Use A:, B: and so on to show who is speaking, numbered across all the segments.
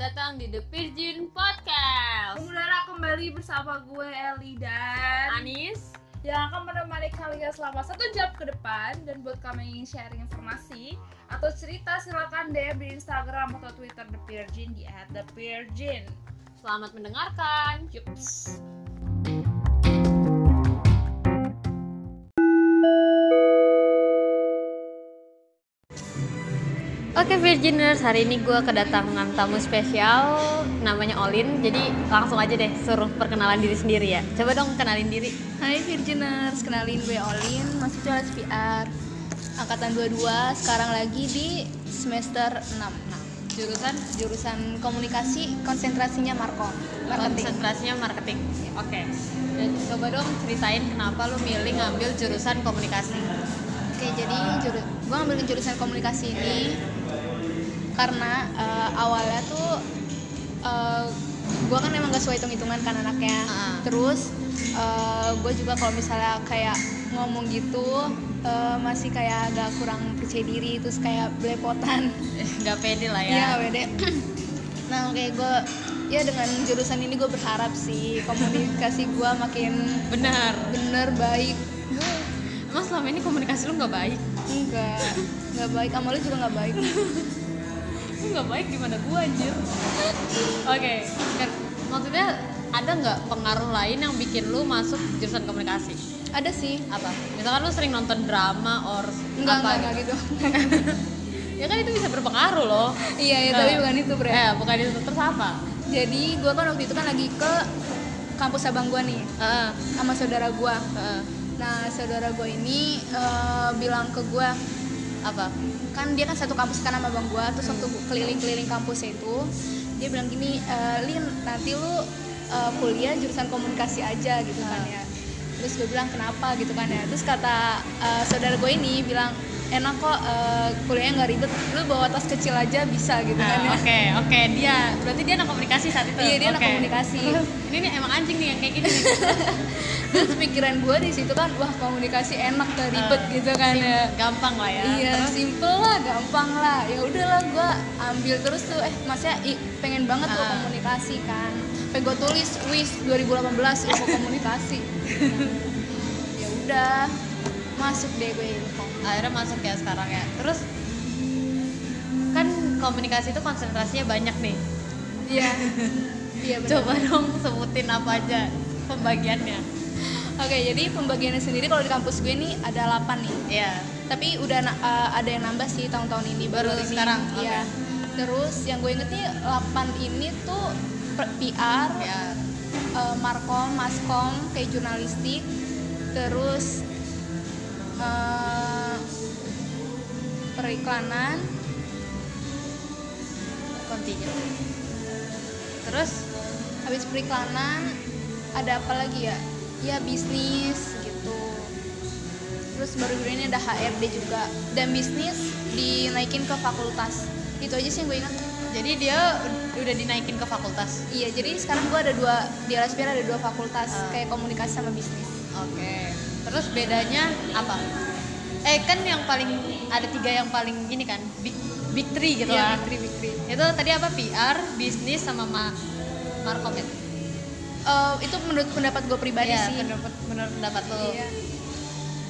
A: datang di The Virgin Podcast.
B: Saudara kembali bersama gue Eli dan
A: Anis,
B: yang akan menemani kalian selama satu jam ke depan dan buat kami yang ingin sharing informasi atau cerita silakan DM di Instagram atau Twitter The Virgin di @thepirgin.
A: selamat mendengarkan.
B: Yups.
A: Oke Virginers, hari ini gue kedatangan tamu spesial namanya Olin. Jadi langsung aja deh suruh perkenalan diri sendiri ya. Coba dong kenalin diri.
C: Hai Virginers, kenalin gue Olin, mahasiswa SPR Angkatan 22, sekarang lagi di semester 6 Nah,
A: Jurusan
C: Jurusan komunikasi, konsentrasinya Markom Marketing
A: konsentrasinya marketing. Oke. Dan Coba dong ceritain kenapa lu milih ngambil jurusan komunikasi.
C: Oke, jadi juru, gue ngambil jurusan komunikasi ini Karena eh, awalnya tuh eh, Gue kan emang gak suka hitung-hitungan kan anaknya
A: Ah.
C: Terus eh, gue juga kalau misalnya kayak ngomong gitu eh, masih kayak agak kurang percaya diri terus kayak belepotan
A: Gak pede lah ya.
C: Iya, WD. nah, oke gue ya dengan jurusan ini gue berharap sih komunikasi gue makin
A: Benar.
C: bener baik. Gue
A: Emang selama ini komunikasi lu nggak baik?
C: enggak nggak baik, sama lu juga nggak baik.
A: Lu nggak baik gimana gua anjir oke kan maksudnya ada nggak pengaruh lain yang bikin lu masuk jurusan komunikasi
C: Ada sih.
A: apa misalkan lu sering nonton drama or
C: Enggak,
A: apa
C: enggak, enggak gitu.
A: gitu. ya kan itu bisa berpengaruh loh
C: iya, iya,
A: Nah.
C: tapi bukan itu, Bre.
A: eh bukan itu terus apa
C: Jadi gue kan waktu itu kan lagi ke kampus abang gue nih
A: Heeh,
C: sama saudara gue.
A: heeh.
C: Nah, saudara gue ini eh, bilang ke gue,
A: apa
C: kan dia kan satu kampus kan sama bang gua terus waktu
A: Hmm.
C: keliling-keliling kampusnya itu dia bilang gini e, Lin nanti lu e, kuliah jurusan komunikasi aja gitu kan
A: Ah.
C: ya terus gue bilang kenapa gitu kan ya terus kata e, saudara gue ini bilang enak kok e, kuliahnya nggak ribet lu bawa tas kecil aja bisa gitu kan ya
A: Nah, oke oke dia berarti dia anak komunikasi saat itu
C: iya dia anak
A: Oke.
C: komunikasi
A: ini nih emang anjing nih yang kayak gini nih.
C: terus pikiran gue di situ kan wah komunikasi enak gak ribet
A: Eh,
C: gitu kan ya
A: gampang lah ya
C: Iya,
A: Terus,
C: simple lah, gampang lah. Ya udahlah gua ambil terus tuh eh masnya i, pengen banget tuh
A: Ah.
C: komunikasi kan. Pengen gua tulis wis 2018 ilmu komunikasi. Nah, ya udah masuk deh gue info.
A: akhirnya masuk ya sekarang ya terus kan komunikasi itu konsentrasinya banyak nih
C: Iya. Iya benar.
A: coba dong sebutin apa aja pembagiannya
C: Oke, jadi pembagiannya sendiri kalau di kampus gue nih ada 8 nih.
A: ya
C: Tapi udah na- eh, ada yang nambah sih tahun-tahun ini
A: Baru
C: ini.
A: sekarang, oke.
C: Iya. Terus yang gue inget nih 8 ini tuh per- PR,
A: ya
C: eh, markom, maskom, kayak jurnalistik, terus eh, periklanan,
A: continue terus
C: habis periklanan ada apa lagi ya? Ya bisnis gitu. Terus baru ini ada HRD juga dan bisnis dinaikin ke fakultas. Itu aja sih yang gue ingat.
A: jadi dia udah dinaikin ke fakultas
C: Iya, jadi sekarang gue ada dua di LSPR ada dua fakultas
A: Ah.
C: kayak komunikasi sama bisnis.
A: oke terus bedanya apa eh kan yang paling ada tiga yang paling gini kan big big three gitu lah
C: Iya, Big Three, Big Three.
A: itu tadi apa PR bisnis sama ma markom ya?
C: Eh, itu menurut pendapat gue pribadi
A: Iya,
C: sih.
A: menurut menurut pendapat lo
C: Iya.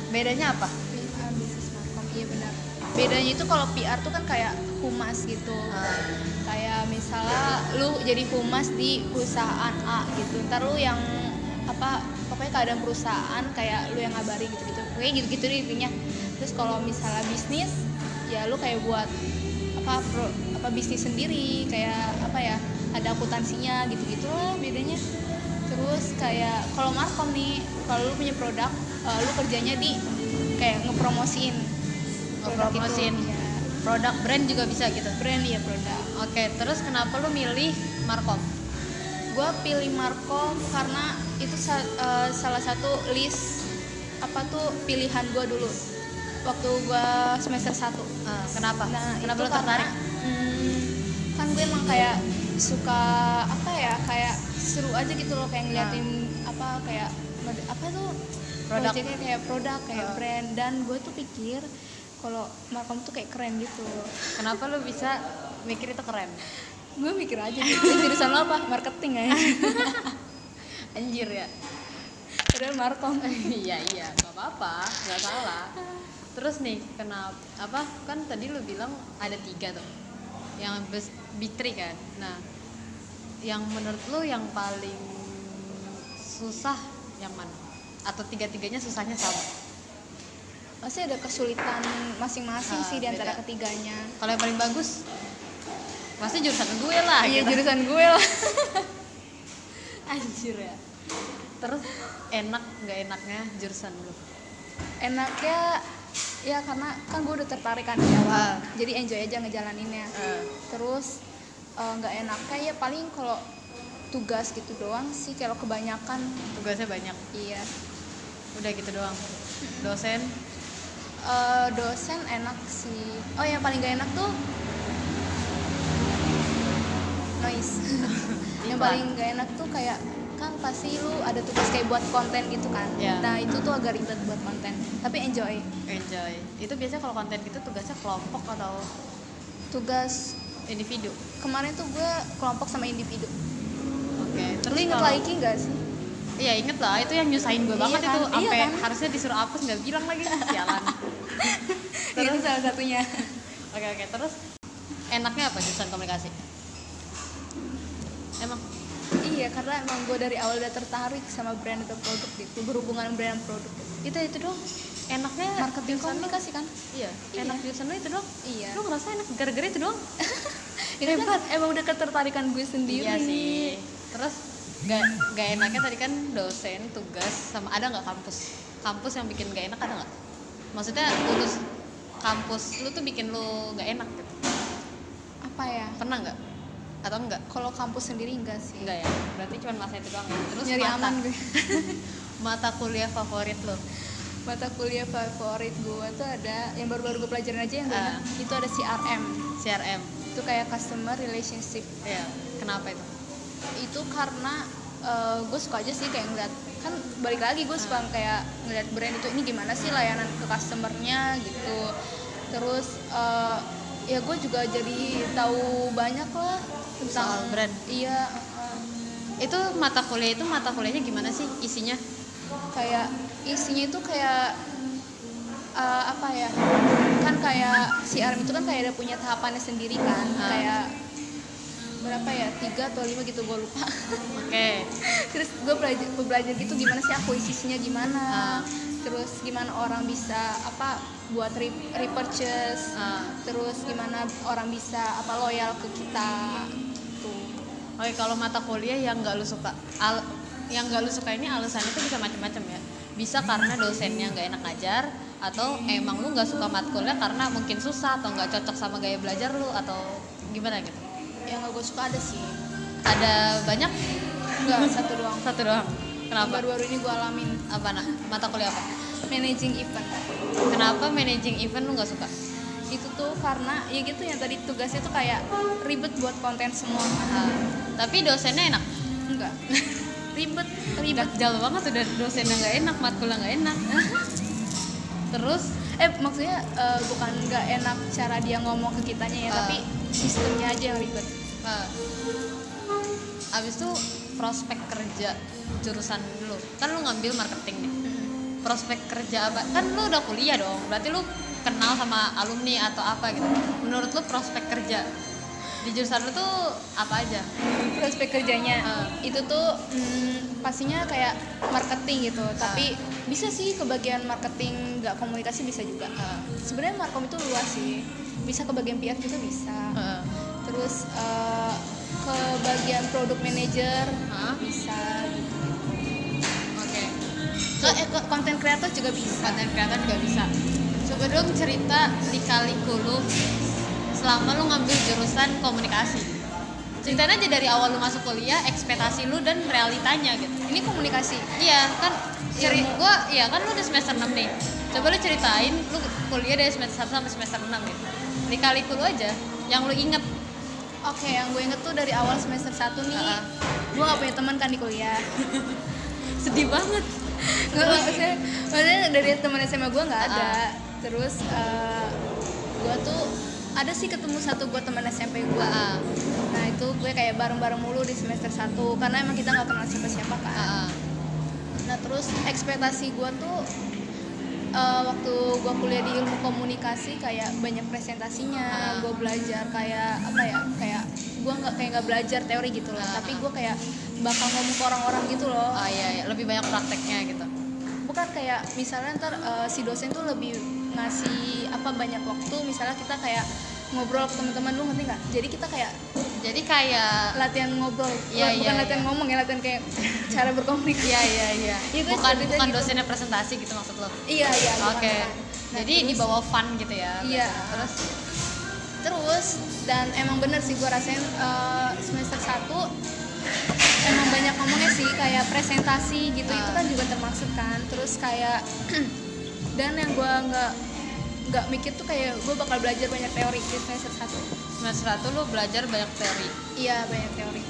A: bedanya apa
C: PR bisnis markom iya benar bedanya itu kalau PR tuh kan kayak humas gitu
A: Ah.
C: kayak misalnya lu jadi humas di perusahaan A gitu ntar lu yang apa pokoknya keadaan perusahaan kayak lu yang ngabarin gitu gitu pokoknya gitu gitu deh intinya terus kalau misalnya bisnis ya lu kayak buat apa pro- apa bisnis sendiri kayak apa ya ada akuntansinya gitu gitu lah bedanya terus kayak kalau markom nih kalau lu punya produk eh, lu kerjanya di kayak ngepromosiin produk itu.
A: Ngepromosiin.
C: Iya.
A: produk brand juga bisa gitu
C: brand ya produk
A: Oke, terus kenapa lu milih Markom?
C: gue pilih Markom karena itu sa- eh, salah satu list apa tuh pilihan gue dulu waktu gue semester 1
A: Eh, kenapa?
C: Nah,
A: kenapa
C: itu
A: lu tertarik?
C: karena, hmm, kan gue emang kayak suka apa ya kayak seru aja gitu loh kayak ngeliatin apa kayak mode- apa tuh
A: Nah. Produk.
C: projectnya kayak produk kayak
A: Ah.
C: brand dan gue tuh pikir kalau Markom tuh kayak keren gitu
A: Kenapa lu bisa mikir itu keren?
C: gue mikir aja "Ini jurusan lo apa marketing ya. aja
A: Anjir ya.
C: padahal markom
A: iya iya, nggak apa-apa, nggak salah. Terus nih, kenapa? Apa kan tadi lu bilang ada tiga tuh, yang bes- bitri kan. Nah, yang menurut lu yang paling susah yang mana? Atau tiga-tiganya susahnya sama?
C: masih ada kesulitan masing-masing
A: Ah,
C: sih di antara
A: beda.
C: ketiganya
A: Kalau yang paling bagus, pasti jurusan gue lah.
C: iya
A: gitu.
C: jurusan gue lah
A: Anjir ya. Terus enak nggak enaknya jurusan lu?
C: enaknya ya karena kan gue udah tertarik kan di
A: Ah.
C: awal jadi enjoy aja ngejalaninnya terus eh, nggak enaknya ya paling kalau tugas gitu doang sih kalau kebanyakan
A: Tugasnya banyak.
C: iya
A: Udah gitu doang. Dosen
C: Eh, dosen enak sih oh yang paling gak enak tuh noise yang
A: Iklan.
C: paling gak enak tuh kayak kan pasti lu ada tugas kayak buat konten gitu kan
A: Ya.
C: nah itu tuh agak ribet buat konten tapi enjoy
A: enjoy. Itu biasanya kalau konten gitu tugasnya kelompok atau
C: tugas
A: individu.
C: kemarin tuh gue kelompok sama individu
A: Oke.
C: lu inget
A: kalau-
C: lagi nggak sih
A: Iya inget lah. Itu yang nyusahin gue
C: Iya
A: banget
C: kan?
A: itu.
C: Iya
A: Sampai
C: kan?
A: harusnya disuruh hapus nggak bilang lagi sialan.
C: itu salah satunya
A: Oke oke. Terus enaknya apa jurusan komunikasi? Emang
C: iya karena emang gue dari awal udah tertarik sama brand atau produk gitu berhubungan brand dan produk
A: itu itu dong. Enaknya
C: marketing
A: jurusan lu-
C: komunikasi kan
A: Iya.
C: Iya.
A: Enak jurusan lu itu dong.
C: iya
A: Lu ngerasa enak gara-gara itu doang?
C: Ini kan emang udah ketertarikan gue sendiri.
A: Iya sih. Terus gak, gak enaknya tadi kan dosen tugas sama ada nggak kampus? Kampus yang bikin gak enak ada nggak? Maksudnya lulus kampus lu tuh bikin lu gak enak gitu.
C: Apa ya?
A: Pernah nggak? Atau enggak?
C: Kalau kampus sendiri enggak sih.
A: Enggak ya. Berarti cuma masa itu doang. ya? Terus
C: Nyari
A: mata,
C: aman gue.
A: mata kuliah favorit lu?
C: Mata kuliah favorit gue tuh ada yang baru-baru gue pelajarin aja yang gue
A: Ah.
C: enak. Itu ada CRM.
A: CRM.
C: Itu kayak customer relationship.
A: Iya. Kenapa itu?
C: Itu karena eh, gue suka aja sih kayak ngeliat kan balik lagi gue
A: Ah.
C: suka kayak ngeliat brand itu ini gimana sih layanan ke customernya gitu terus eh, ya gue juga jadi tahu banyak lah tentang
A: Soal brand.
C: iya eh,
A: Itu mata kuliah itu mata kuliahnya gimana sih isinya?
C: kayak isinya itu kayak eh, apa ya kan kayak si Arm itu kan kayak ada punya tahapannya sendiri kan
A: Ah.
C: kayak berapa ya tiga atau lima gitu gue lupa
A: Oke.
C: terus gue belajar belajar gitu gimana sih aku isinya gimana
A: Ah.
C: terus gimana orang bisa apa buat re- repurchase
A: Ah.
C: terus gimana orang bisa apa loyal ke kita tuh
A: Oke, kalau mata kuliah yang nggak lu suka, al- yang nggak lu suka ini alasannya tuh bisa macam-macam ya. Bisa karena dosennya nggak enak ngajar, atau emang lu nggak suka matkulnya karena mungkin susah atau nggak cocok sama gaya belajar lu atau gimana gitu.
C: yang gak gue suka ada sih
A: Ada banyak
C: enggak satu doang
A: satu doang.
C: Yang
A: Kenapa?
C: baru-baru ini gue alamin
A: Apa nah? Mata kuliah apa?
C: managing event
A: Kenapa managing event lu nggak suka?
C: itu tuh karena ya gitu yang tadi tugasnya tuh kayak ribet buat konten semua
A: Ah, tapi dosennya enak.
C: enggak
A: ribet ribet jauh banget udah dosennya nggak enak, matkulnya nggak enak. Terus
C: eh maksudnya eh, bukan nggak enak cara dia ngomong ke kitanya ya
A: Ah.
C: tapi sistemnya aja yang ribet
A: Nah, abis itu prospek kerja jurusan lu kan lu ngambil marketing nih prospek kerja apa kan lu udah kuliah dong berarti lu kenal sama alumni atau apa gitu menurut lu prospek kerja di jurusan lu tuh apa aja
C: prospek kerjanya
A: Ah.
C: itu tuh mm, pastinya kayak marketing gitu tapi bisa sih ke bagian marketing nggak komunikasi bisa juga
A: Ah.
C: sebenarnya markom itu luas sih bisa ke bagian PR juga bisa
A: Heeh.
C: terus eh, ke bagian produk manager
A: Hah?
C: bisa gitu
A: oke
C: ke eh, ke konten kreator juga bisa
A: konten kreator juga bisa coba dong cerita lika-liku lu selama lu ngambil jurusan komunikasi ceritain aja dari awal lu masuk kuliah ekspektasi lu dan realitanya gitu
C: ini komunikasi
A: Iya kan ceri
C: Ilmu.
A: gua ya kan lu di semester 6 nih. Coba lu ceritain lu kuliah dari semester 1 sampai semester 6 gitu. Dikali lu aja yang lu inget
C: oke yang gue inget tuh dari awal semester 1 nih
A: Ah.
C: gue gak punya teman kan di kuliah
A: sedih banget.
C: Gak maksudnya, maksudnya dari teman SMA gue nggak ada
A: Ah.
C: terus eh, gue tuh ada sih ketemu satu gue teman SMP gue nah itu gue kayak bareng-bareng mulu di semester 1 karena emang kita nggak kenal siapa-siapa kan
A: Ah, ah.
C: Nah terus ekspektasi gue tuh eh, waktu gue kuliah di ilmu komunikasi kayak banyak presentasinya,
A: Ah.
C: gue belajar kayak apa ya kayak gue nggak kayak nggak belajar teori gitu loh,
A: Ah.
C: tapi gue kayak bakal ngomong ke orang-orang gitu loh.
A: Ah, iya, iya, lebih banyak prakteknya gitu.
C: Bukan kayak misalnya ntar eh, si dosen tuh lebih ngasih apa banyak waktu, misalnya kita kayak ngobrol ke teman-teman lu ngerti nggak? Jadi kita kayak
A: Jadi kayak
C: latihan ngobrol,
A: Iya,
C: bukan
A: iya,
C: latihan
A: iya.
C: ngomong ya, latihan kayak cara berkomunikasi.
A: Iya, iya, iya.
C: Iya, gue
A: Bukan
C: seperti
A: bukan
C: gitu.
A: dosennya presentasi gitu maksud lo.
C: iya iya.
A: Oke.
C: bukan, bukan. Nah,
A: Jadi
C: terus-
A: dibawa fun gitu ya.
C: Iya.
A: biasanya. Terus
C: terus dan emang bener sih gue rasain eh, semester 1 emang banyak ngomongnya sih kayak presentasi gitu itu kan juga termasuk kan terus kayak dan yang gue nggak nggak mikir tuh kayak gue bakal belajar banyak teori di semester 1
A: semester 1 lo belajar banyak teori.
C: iya banyak teori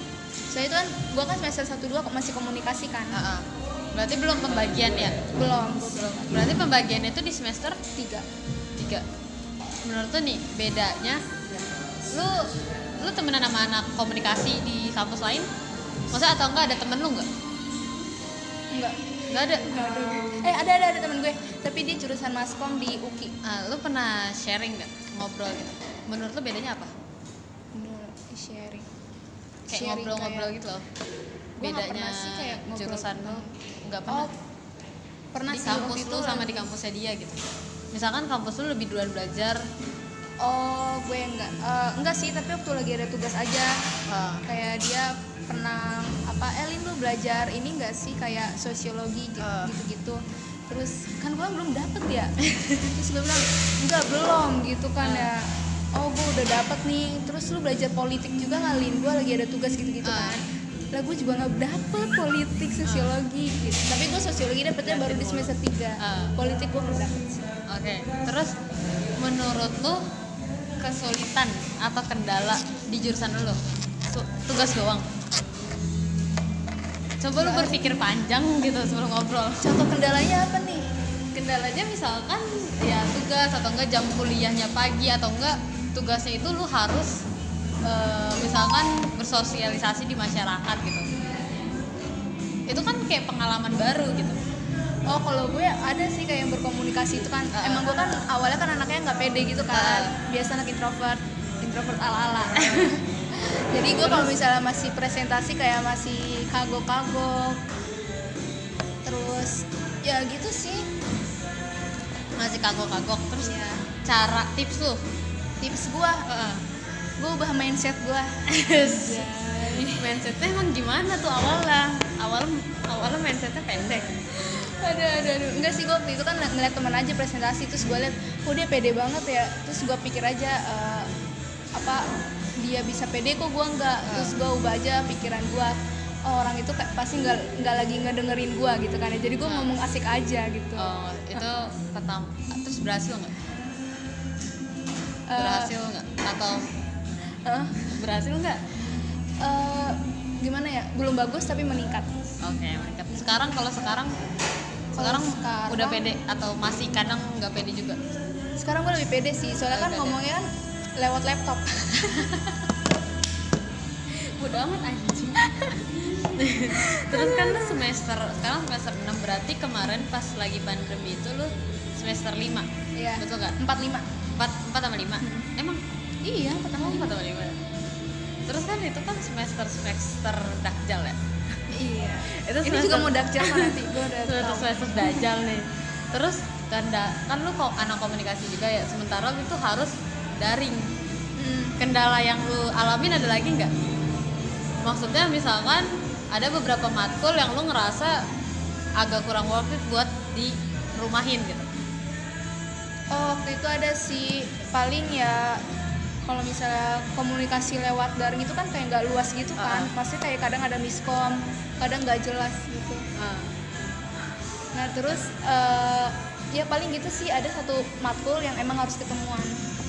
C: soalnya itu kan gue kan semester 1 2 masih komunikasi kan
A: Ah, ah. Berarti belum pembagian ya?
C: belum gue belum
A: Berarti pembagiannya itu di semester
C: tiga
A: 3. Menurut lo nih bedanya lu lu temenan sama anak komunikasi di kampus lain? Masa atau enggak ada temen lu enggak?
C: enggak
A: Enggak ada.
C: eh ada ada ada temen gue tapi dia jurusan maskom di UKI
A: Ah, lu pernah sharing nggak ngobrol gitu? Menurut lu bedanya apa?
C: Menurut sharing
A: Kayak
C: Sharing
A: ngobrol-ngobrol
C: kayak-
A: gitu loh.
C: Gua nggak
A: Bedanya
C: pernah sih kayak ngobrol.
A: jurusan lu nggak gitu pernah.
C: Oh, pernah
A: di
C: sih
A: kampus
C: waktu itu
A: lu sama
C: lagi-
A: di kampusnya dia gitu. Misalkan kampus lu lebih duluan belajar,
C: Oh, gue enggak. Eh, enggak sih, tapi waktu lagi ada tugas aja.
A: ah,
C: Kayak dia pernah apa Elin lu belajar ini enggak sih kayak sosiologi gi-
A: Eh.
C: gitu-gitu. Terus kan gue belum dapet ya. Terus gue bilang, "Enggak, belum." gitu kan
A: Eh.
C: ya. Oh, gue udah dapet nih. Terus lu belajar politik juga ngalin. Gue lagi ada tugas gitu-gitu
A: Eh.
C: kan. Lah gue juga nggak dapet politik sosiologi gitu. Tapi gue sosiologi dapetnya baru di semester 3.
A: Eh.
C: Politik gue belum dapet sih.
A: Oke, terus menurut lu kesulitan atau kendala di jurusan lu? Su- Tugas doang. Coba lu
C: Nggak.
A: berpikir panjang gitu sebelum ngobrol.
C: Contoh kendalanya apa nih?
A: Kendalanya misalkan ya tugas atau enggak jam kuliahnya pagi atau enggak tugasnya itu lu harus eh, misalkan bersosialisasi di masyarakat gitu. Itu kan kayak pengalaman baru gitu.
C: Oh kalau gue ada sih kayak yang berkomunikasi itu kan
A: Ah.
C: emang gue kan awalnya kan anaknya nggak pede gitu kan
A: Ah.
C: biasa anak introvert introvert ala ala jadi gue kalau misalnya masih presentasi kayak masih kagok kagok terus ya gitu sih
A: Masih kagok-kagok terus
C: ya
A: cara tips lu.
C: tips gue
A: Heeh. Ya.
C: gue ubah mindset gue
A: mindsetnya emang gimana tuh awalnya awalnya awalnya mindsetnya pendek
C: aduh aduh aduh enggak sih gue waktu itu kan ngeliat teman aja presentasi terus gue liat oh dia pede banget ya terus gue pikir aja eh, apa dia bisa pede kok gue enggak terus gue ubah aja pikiran gue oh orang itu kayak pasti enggak enggak lagi ngedengerin gue gitu kan ya jadi gue ngomong asik aja gitu
A: oh itu pertama terus berhasil nggak
C: Eh,
A: berhasil nggak atau
C: eh,
A: berhasil nggak
C: eh, gimana ya belum bagus tapi meningkat
A: oke meningkat sekarang kalau sekarang sekarang,
C: sekarang-
A: udah pede atau masih kadang nggak pede juga
C: sekarang gue lebih pede sih soalnya kan
A: Lebih pede.
C: ngomongnya lewat laptop
A: udah amat anjing terus kan lu semester sekarang semester 6 berarti kemarin pas lagi pandemi itu lu semester 5
C: Iya.
A: betul nggak
C: empat lima
A: empat empat sama lima emang iya empat sama empat sama lima terus kan itu kan semester semester dajjal ya
C: iya
A: Itu
C: ini
A: semester-
C: juga mau dakjal nanti gue udah
A: semester
C: tahu.
A: semester dajjal nih terus tanda kan lu kok anak komunikasi juga ya sementara itu harus daring
C: Hmm.
A: kendala yang lu alamin ada lagi nggak maksudnya misalkan ada beberapa matkul yang lu ngerasa agak kurang worth it buat di rumahin gitu
C: Oh, waktu itu ada sih paling ya kalau misalnya komunikasi lewat daring itu kan kayak nggak luas gitu kan,
A: Ah.
C: pasti kayak kadang ada miskom, kadang nggak jelas gitu.
A: Ah.
C: Nah terus eh, ya paling gitu sih ada satu matkul yang emang harus ketemuan.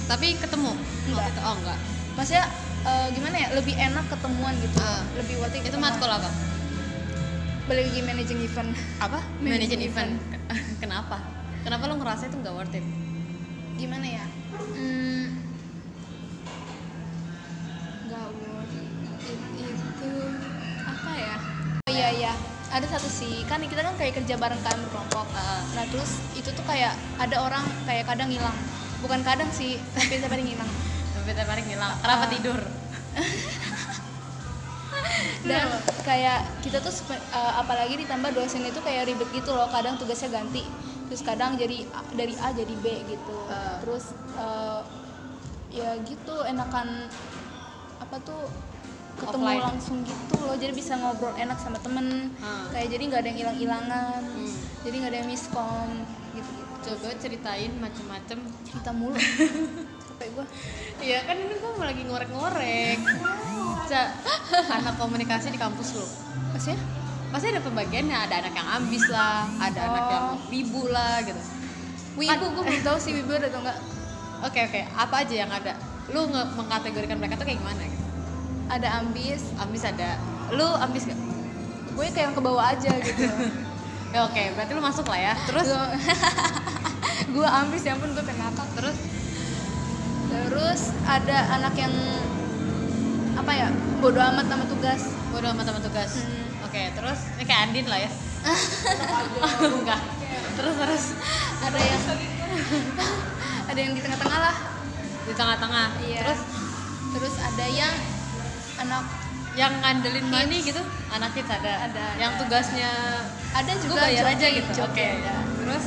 A: tapi ketemu
C: Nggak.
A: Waktu itu- oh enggak
C: Maksudnya eh, gimana ya lebih enak ketemuan gitu,
A: Ah.
C: lebih worth it
A: itu
C: ketemuan.
A: matkul apa
C: Balik lagi managing event.
A: apa
C: Managing
A: manajer event kenapa kenapa lo ngerasa itu nggak worth it
C: Gimana ya? Hmm, nggak worth it itu apa ya oh iya iya ada satu sih kan kita kan kayak kerja bareng kan berkelompok
A: Ah.
C: nah terus itu tuh kayak ada orang kayak kadang hilang bukan kadang sih tapi sampai hilang
A: sampai tiap hari ngilang kenapa
C: Ah.
A: tidur
C: dan kayak kita tuh sepe- eh, apalagi ditambah dosen itu kayak ribet gitu loh kadang tugasnya ganti terus kadang jadi A- dari A jadi B gitu
A: Ah.
C: terus eh, ya gitu enakan apa tuh ketemu
A: Offline.
C: langsung gitu loh jadi bisa ngobrol enak sama temen
A: Ah.
C: kayak jadi nggak ada yang hilang-hilangan
A: Hmm.
C: jadi nggak ada yang miskom gitu gitu
A: coba ceritain macem-macem
C: cerita mulu capek gue
A: iya kan ini gue lagi ngorek-ngorek Ca, anak komunikasi di kampus lo
C: maksudnya
A: pasti ada pembagiannya ada anak yang ambis lah ada anak yang
C: Oh.
A: wibu lah gitu
C: wibu gue belum tahu sih wibu ada atau enggak
A: oke oke apa aja yang ada lu nge- mengkategorikan mereka tuh kayak gimana gitu
C: ada ambis
A: ambis ada lu ambis gak?
C: gue kayak yang ke bawah aja gitu
A: Ya, oke berarti lu masuk lah ya terus
C: gue ambis ya ampun gue kenapa
A: terus
C: terus ada anak yang apa ya bodoh amat sama tugas
A: bodo amat sama tugas
C: Hmm.
A: oke terus ini kayak Andin lah ya enggak terus terus
C: ada yang ada yang di tengah-tengah lah
A: di tengah-tengah
C: Iya.
A: terus
C: terus ada yang anak
A: yang ngandelin money gitu anak kita ada
C: Ada,
A: yang
C: ada.
A: tugasnya
C: ada
A: gue
C: juga
A: bayar
C: joki,
A: aja gitu oke
C: joki ada.
A: terus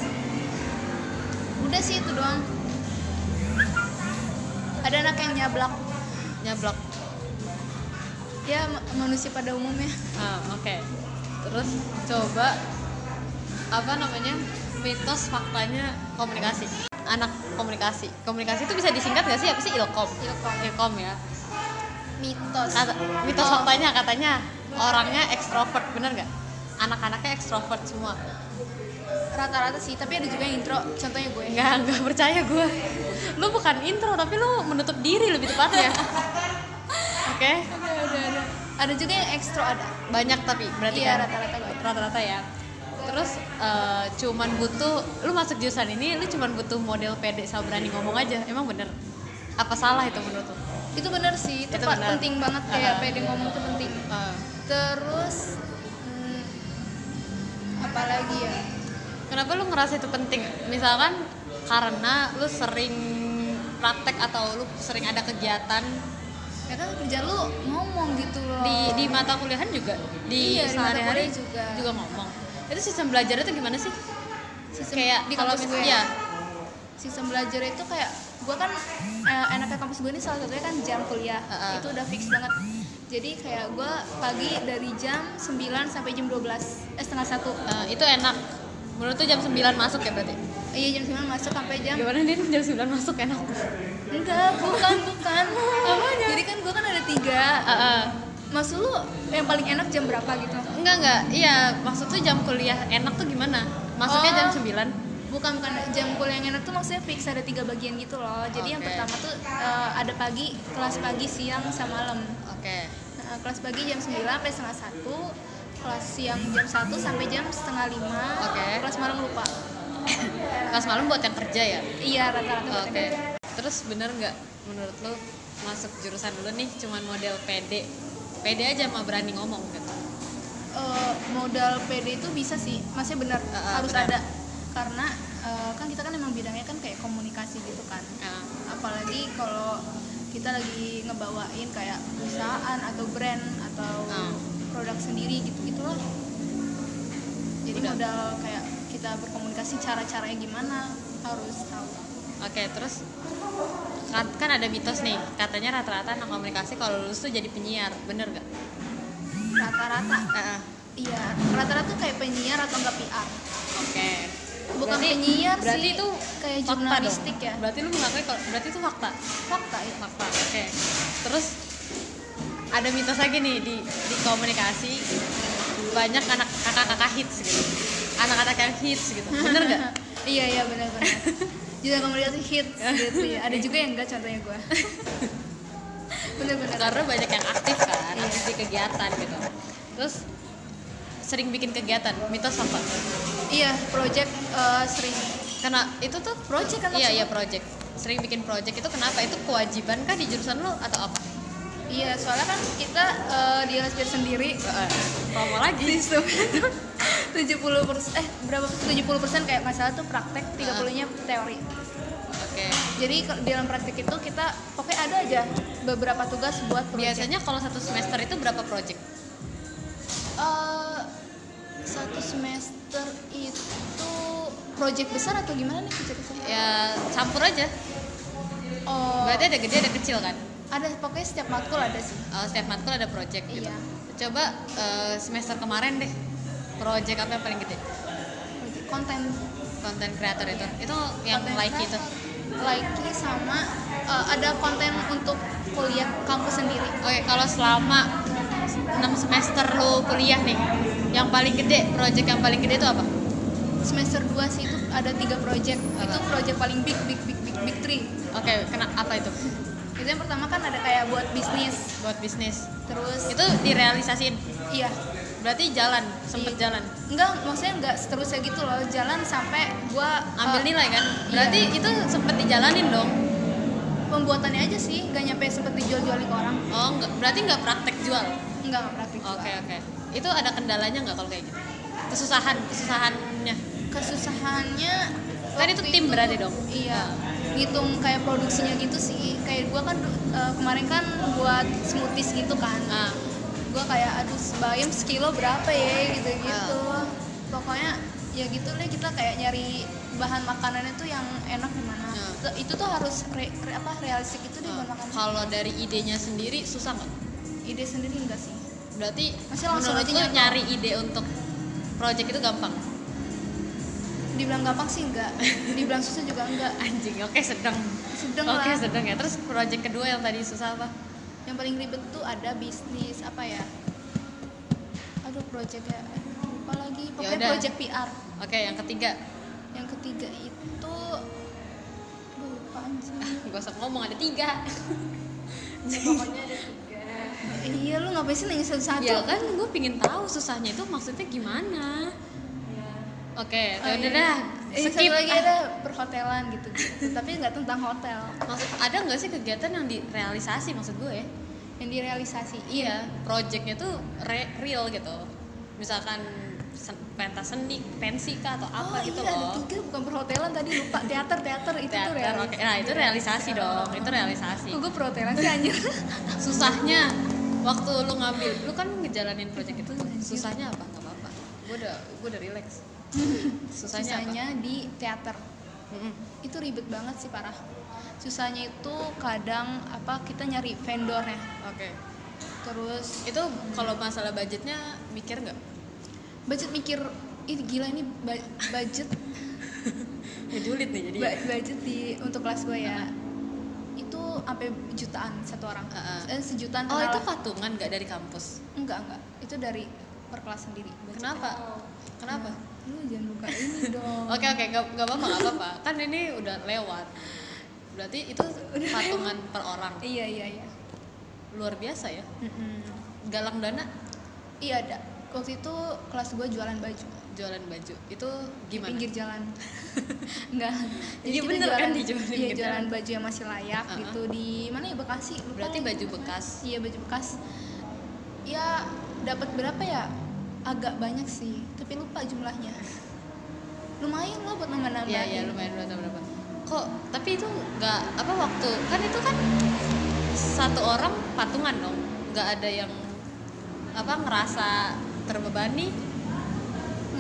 C: udah sih itu doang ada anak yang nyablak
A: nyablak
C: ya ma- manusia pada umumnya
A: Ah, oke terus coba apa namanya mitos faktanya komunikasi anak komunikasi komunikasi itu bisa disingkat gak sih apa sih ilkom
C: Ilkom.
A: ilkom ya
C: mitos
A: Kata- mitos faktanya katanya orangnya ekstrovert bener nggak anak-anaknya ekstrovert semua
C: rata-rata sih tapi ada juga yang intro contohnya gue
A: nggak nggak percaya gue lu bukan intro tapi lu menutup diri lebih
C: Iya.
A: tepatnya oke
C: ada ada ada ada juga yang ekstro ada
A: banyak tapi berarti
C: Iya,
A: kan?
C: rata-rata banyak.
A: rata-rata ya terus eh, cuman butuh lu masuk jurusan ini lu cuman butuh model pede sama berani ngomong aja emang bener apa salah itu menurut lu
C: itu bener sih itu
A: Itu Ah,
C: pa-
A: bener.
C: penting banget kayak
A: Aha.
C: pede ngomong itu penting
A: Eh,
C: terus hmm, apalagi ya
A: kenapa lu ngerasa itu penting misalkan karena lu sering praktek atau lu sering ada kegiatan
C: ya kan kerja lu ngomong gitu loh
A: di di mata kuliahan juga di
C: Iya, di mata
A: sehari-hari
C: kuliah juga.
A: ngomong itu sistem belajarnya tuh gimana sih
C: sistem,
A: kayak
C: di
A: kalau
C: kampus gue
A: mis- ya
C: sistem belajar itu kayak gue kan eh, enaknya kampus gue ini salah satunya kan jam kuliah
A: Heeh.
C: itu udah fix banget jadi kayak gue pagi dari jam 9 sampai jam 12 eh setengah satu
A: eh, itu enak menurut tuh jam 9 masuk ya berarti
C: iya jam 9 masuk sampai jam
A: gimana din jam 9 masuk enak
C: Eh, enggak bukan bukan
A: Apanya?
C: jadi kan gue kan ada tiga
A: Heeh.
C: eh. Maksud lu yang paling enak jam berapa gitu?
A: enggak enggak iya maksud tuh jam kuliah enak tuh gimana masuknya
C: Oh.
A: jam 9
C: Bukan bukan jam kuliah yang enak tuh maksudnya fix ada tiga bagian gitu loh. Jadi yang
A: Oke.
C: pertama tuh eh, ada pagi, kelas pagi, siang, sama malam.
A: oke
C: Nah, kelas pagi jam 9 sampai setengah satu, kelas siang jam 1 sampai jam setengah lima,
A: Oke.
C: kelas malam lupa.
A: kelas malam buat yang kerja ya
C: Iya rata-rata.
A: oke
C: bukan.
A: terus bener nggak menurut lu masuk jurusan dulu nih cuman model pede pede aja mah berani ngomong gitu
C: Eh, modal PD itu bisa sih, masih benar
A: Eh, eh,
C: harus
A: benar.
C: ada karena eh, kan kita kan emang bidangnya kan kayak komunikasi gitu kan.
A: Eh,
C: apalagi kalau kita lagi ngebawain kayak perusahaan atau brand atau
A: Hmm.
C: produk sendiri gitu gitulah jadi
A: Udah.
C: modal kayak kita berkomunikasi cara-caranya gimana harus tahu
A: Oke, terus kan, kan ada mitos nih, katanya rata-rata anak komunikasi kalau lulus tuh jadi penyiar, bener gak?
C: rata-rata
A: Heeh.
C: iya rata-rata tuh kayak penyiar atau enggak PR
A: Oke.
C: bukan
A: Berarti-
C: penyiar
A: berarti
C: sih
A: itu
C: kayak
A: fakta dong.
C: jurnalistik ya
A: Berarti lu mengakui kalau berarti itu fakta.
C: fakta ya
A: Fakta. Oke. Terus ada mitos lagi nih di di komunikasi banyak anak kakak-kakak hits gitu. Anak-anak yang hits gitu. Bener gak?
C: iya iya benar-benar juga komunikasi hits gitu ya ada juga yang enggak contohnya gue bener-bener
A: Karena banyak yang aktif kan,
C: Iya.
A: aktif di kegiatan gitu. Terus sering bikin kegiatan, mitos apa?
C: Iya, project eh, sering.
A: Karena itu tuh
C: Project kan
A: Iya
C: maksudnya?
A: iya project. Sering bikin project itu kenapa? Itu kewajiban kah di jurusan lo atau apa?
C: Iya, soalnya kan kita eh, di LSPR sendiri
A: Heeh. Apa mau lagi?
C: sistem 70 eh berapa 70 kayak masalah tuh praktek 30 nya teori
A: Oke.
C: jadi ke- di dalam praktek itu kita pokoknya ada aja beberapa tugas buat project.
A: Biasanya kalau satu semester itu berapa project?
C: Eh, satu semester itu project besar atau gimana nih project besar?
A: Ya campur aja.
C: Oh,
A: Berarti ada gede ada kecil kan?
C: ada pokoknya setiap matkul ada sih.
A: Eh, setiap matkul ada project gitu.
C: Iya.
A: Coba eh, semester kemarin deh. Project apa yang paling gede?
C: Project konten
A: Konten kreator itu. Itu yang
C: konten
A: like itu.
C: kreator. Likey sama eh, ada konten untuk kuliah kampus sendiri.
A: Oke, kalau selama 6 semester lu kuliah nih, yang paling gede, project yang paling gede itu apa?
C: Semester 2 sih itu ada tiga project.
A: Apa?
C: Itu project paling big big big big big three.
A: Oke, kena apa itu?
C: Itu yang pertama kan ada kayak buat bisnis,
A: Buat bisnis.
C: terus
A: Itu direalisasiin.
C: iya
A: Berarti jalan, sempet
C: Iya.
A: jalan.
C: enggak maksudnya enggak seterusnya gitu loh jalan sampai gua
A: Ambil
C: eh,
A: nilai kan? Berarti itu sempet dijalanin dong.
C: pembuatannya aja sih nggak nyampe seperti jual-jualin ke orang
A: Oh, enggak, berarti nggak praktek jual.
C: nggak nggak praktik
A: Oke,
C: jual.
A: oke. Itu ada kendalanya nggak kalau kayak gitu? Kesusahan, kesusahannya.
C: kesusahannya
A: Tadi
C: waktu
A: tuh Kan tim berarti dong?
C: iya ngitung kayak produksinya gitu sih kayak gua kan eh, kemarin kan buat smoothies gitu kan
A: Ah,
C: gua kayak aduh sebayam sekilo berapa ya gitu gitu
A: Ah.
C: pokoknya ya gitu deh kita kayak nyari bahan makanannya tuh yang enak gimana
A: Ah.
C: Itu- itu tuh harus re- re- apa realistik itu deh
A: ah.
C: bahan makanan
A: kalau dari idenya sendiri susah nggak?
C: ide sendiri enggak sih
A: Berarti
C: Masih langsung
A: menurut lu
C: aja nyantol.
A: nyari ide untuk project itu gampang.
C: dibilang gampang sih enggak dibilang susah juga enggak
A: Anjing, oke sedang.
C: sedang
A: Oke
C: lah
A: sedang ya. Terus project kedua yang tadi susah apa?
C: yang paling ribet tuh ada bisnis apa ya aduh projectnya eh, lupa lagi pokoknya
A: Yaudah.
C: project PR
A: Oke, yang ketiga.
C: yang ketiga itu aduh, lupa anjing
A: Gak usah ngomong ada tiga.
B: pokoknya ada tiga
C: iya lu ngapain sih nanya satu-satu
A: Ya kan gue pingin tahu susahnya itu maksudnya gimana. Iya. Oke, ya
C: Oh,
A: udah
C: iya.
A: dah.
C: Eh,
A: Skip.
C: satu lagi
A: Ah,
C: ada perhotelan gitu, tapi nggak tentang hotel
A: Maksud, ada nggak sih kegiatan yang direalisasi maksud gue? ya?
C: yang direalisasi
A: Iya, projectnya tuh re- real gitu. Misalkan sen- pentas seni, pensi kah atau apa
C: oh
A: gitu
C: iya ada
A: loh.
C: tiga bukan perhotelan tadi lupa teater teater itu tuh
A: Teater, oke.
C: realisasi Iya. Oh.
A: Nah, itu realisasi dong. Itu realisasi.
C: Kok gue perhotelan sih anjir
A: Susahnya waktu lu ngambil, lu kan ngejalanin project itu susahnya apa? Enggak apa-apa. Gue udah gue udah relax. Susahnya,
C: susahnya
A: apa?
C: di teater
A: Mm-mm.
C: itu ribet banget sih parah susahnya itu kadang apa kita nyari vendornya
A: Oke.
C: terus
A: Itu kalau masalah budgetnya mikir nggak?
C: budget mikir ih gila ini ba- budget
A: Ngejulit nih jadi.
C: ba- budget di untuk kelas gue ya itu sampai jutaan satu orang
A: Heeh.
C: eh, sejutaan
A: oh, itu
C: kenalan.
A: patungan nggak dari kampus?
C: enggak enggak itu dari per kelas sendiri
A: Kenapa? Kenapa?
C: lu jangan buka ini dong
A: Oke oke nggak nggak apa-apa nggak apa-apa kan ini udah lewat berarti itu patungan per orang
C: iya iya iya
A: luar biasa ya
C: Mm-mm.
A: galang dana
C: iya ada waktu itu kelas gue jualan baju
A: jualan baju itu
C: di
A: gimana?
C: pinggir jalan enggak
A: Iya,
C: kita
A: bener kan,
C: jualan-
A: dijual di
C: iya,
A: pinggir
C: jualan
A: jalan.
C: baju yang masih layak
A: Uh-uh.
C: gitu di mana ya Bekasi lupa
A: Berarti
C: lagi.
A: baju bekas.
C: iya baju bekas ya dapat berapa ya agak banyak sih tapi lupa jumlahnya lumayan loh buat nambah-nambahin
A: Iya iya lumayan berapa berapa. Kok tapi itu nggak apa waktu kan itu kan satu orang patungan dong nggak ada yang apa ngerasa terbebani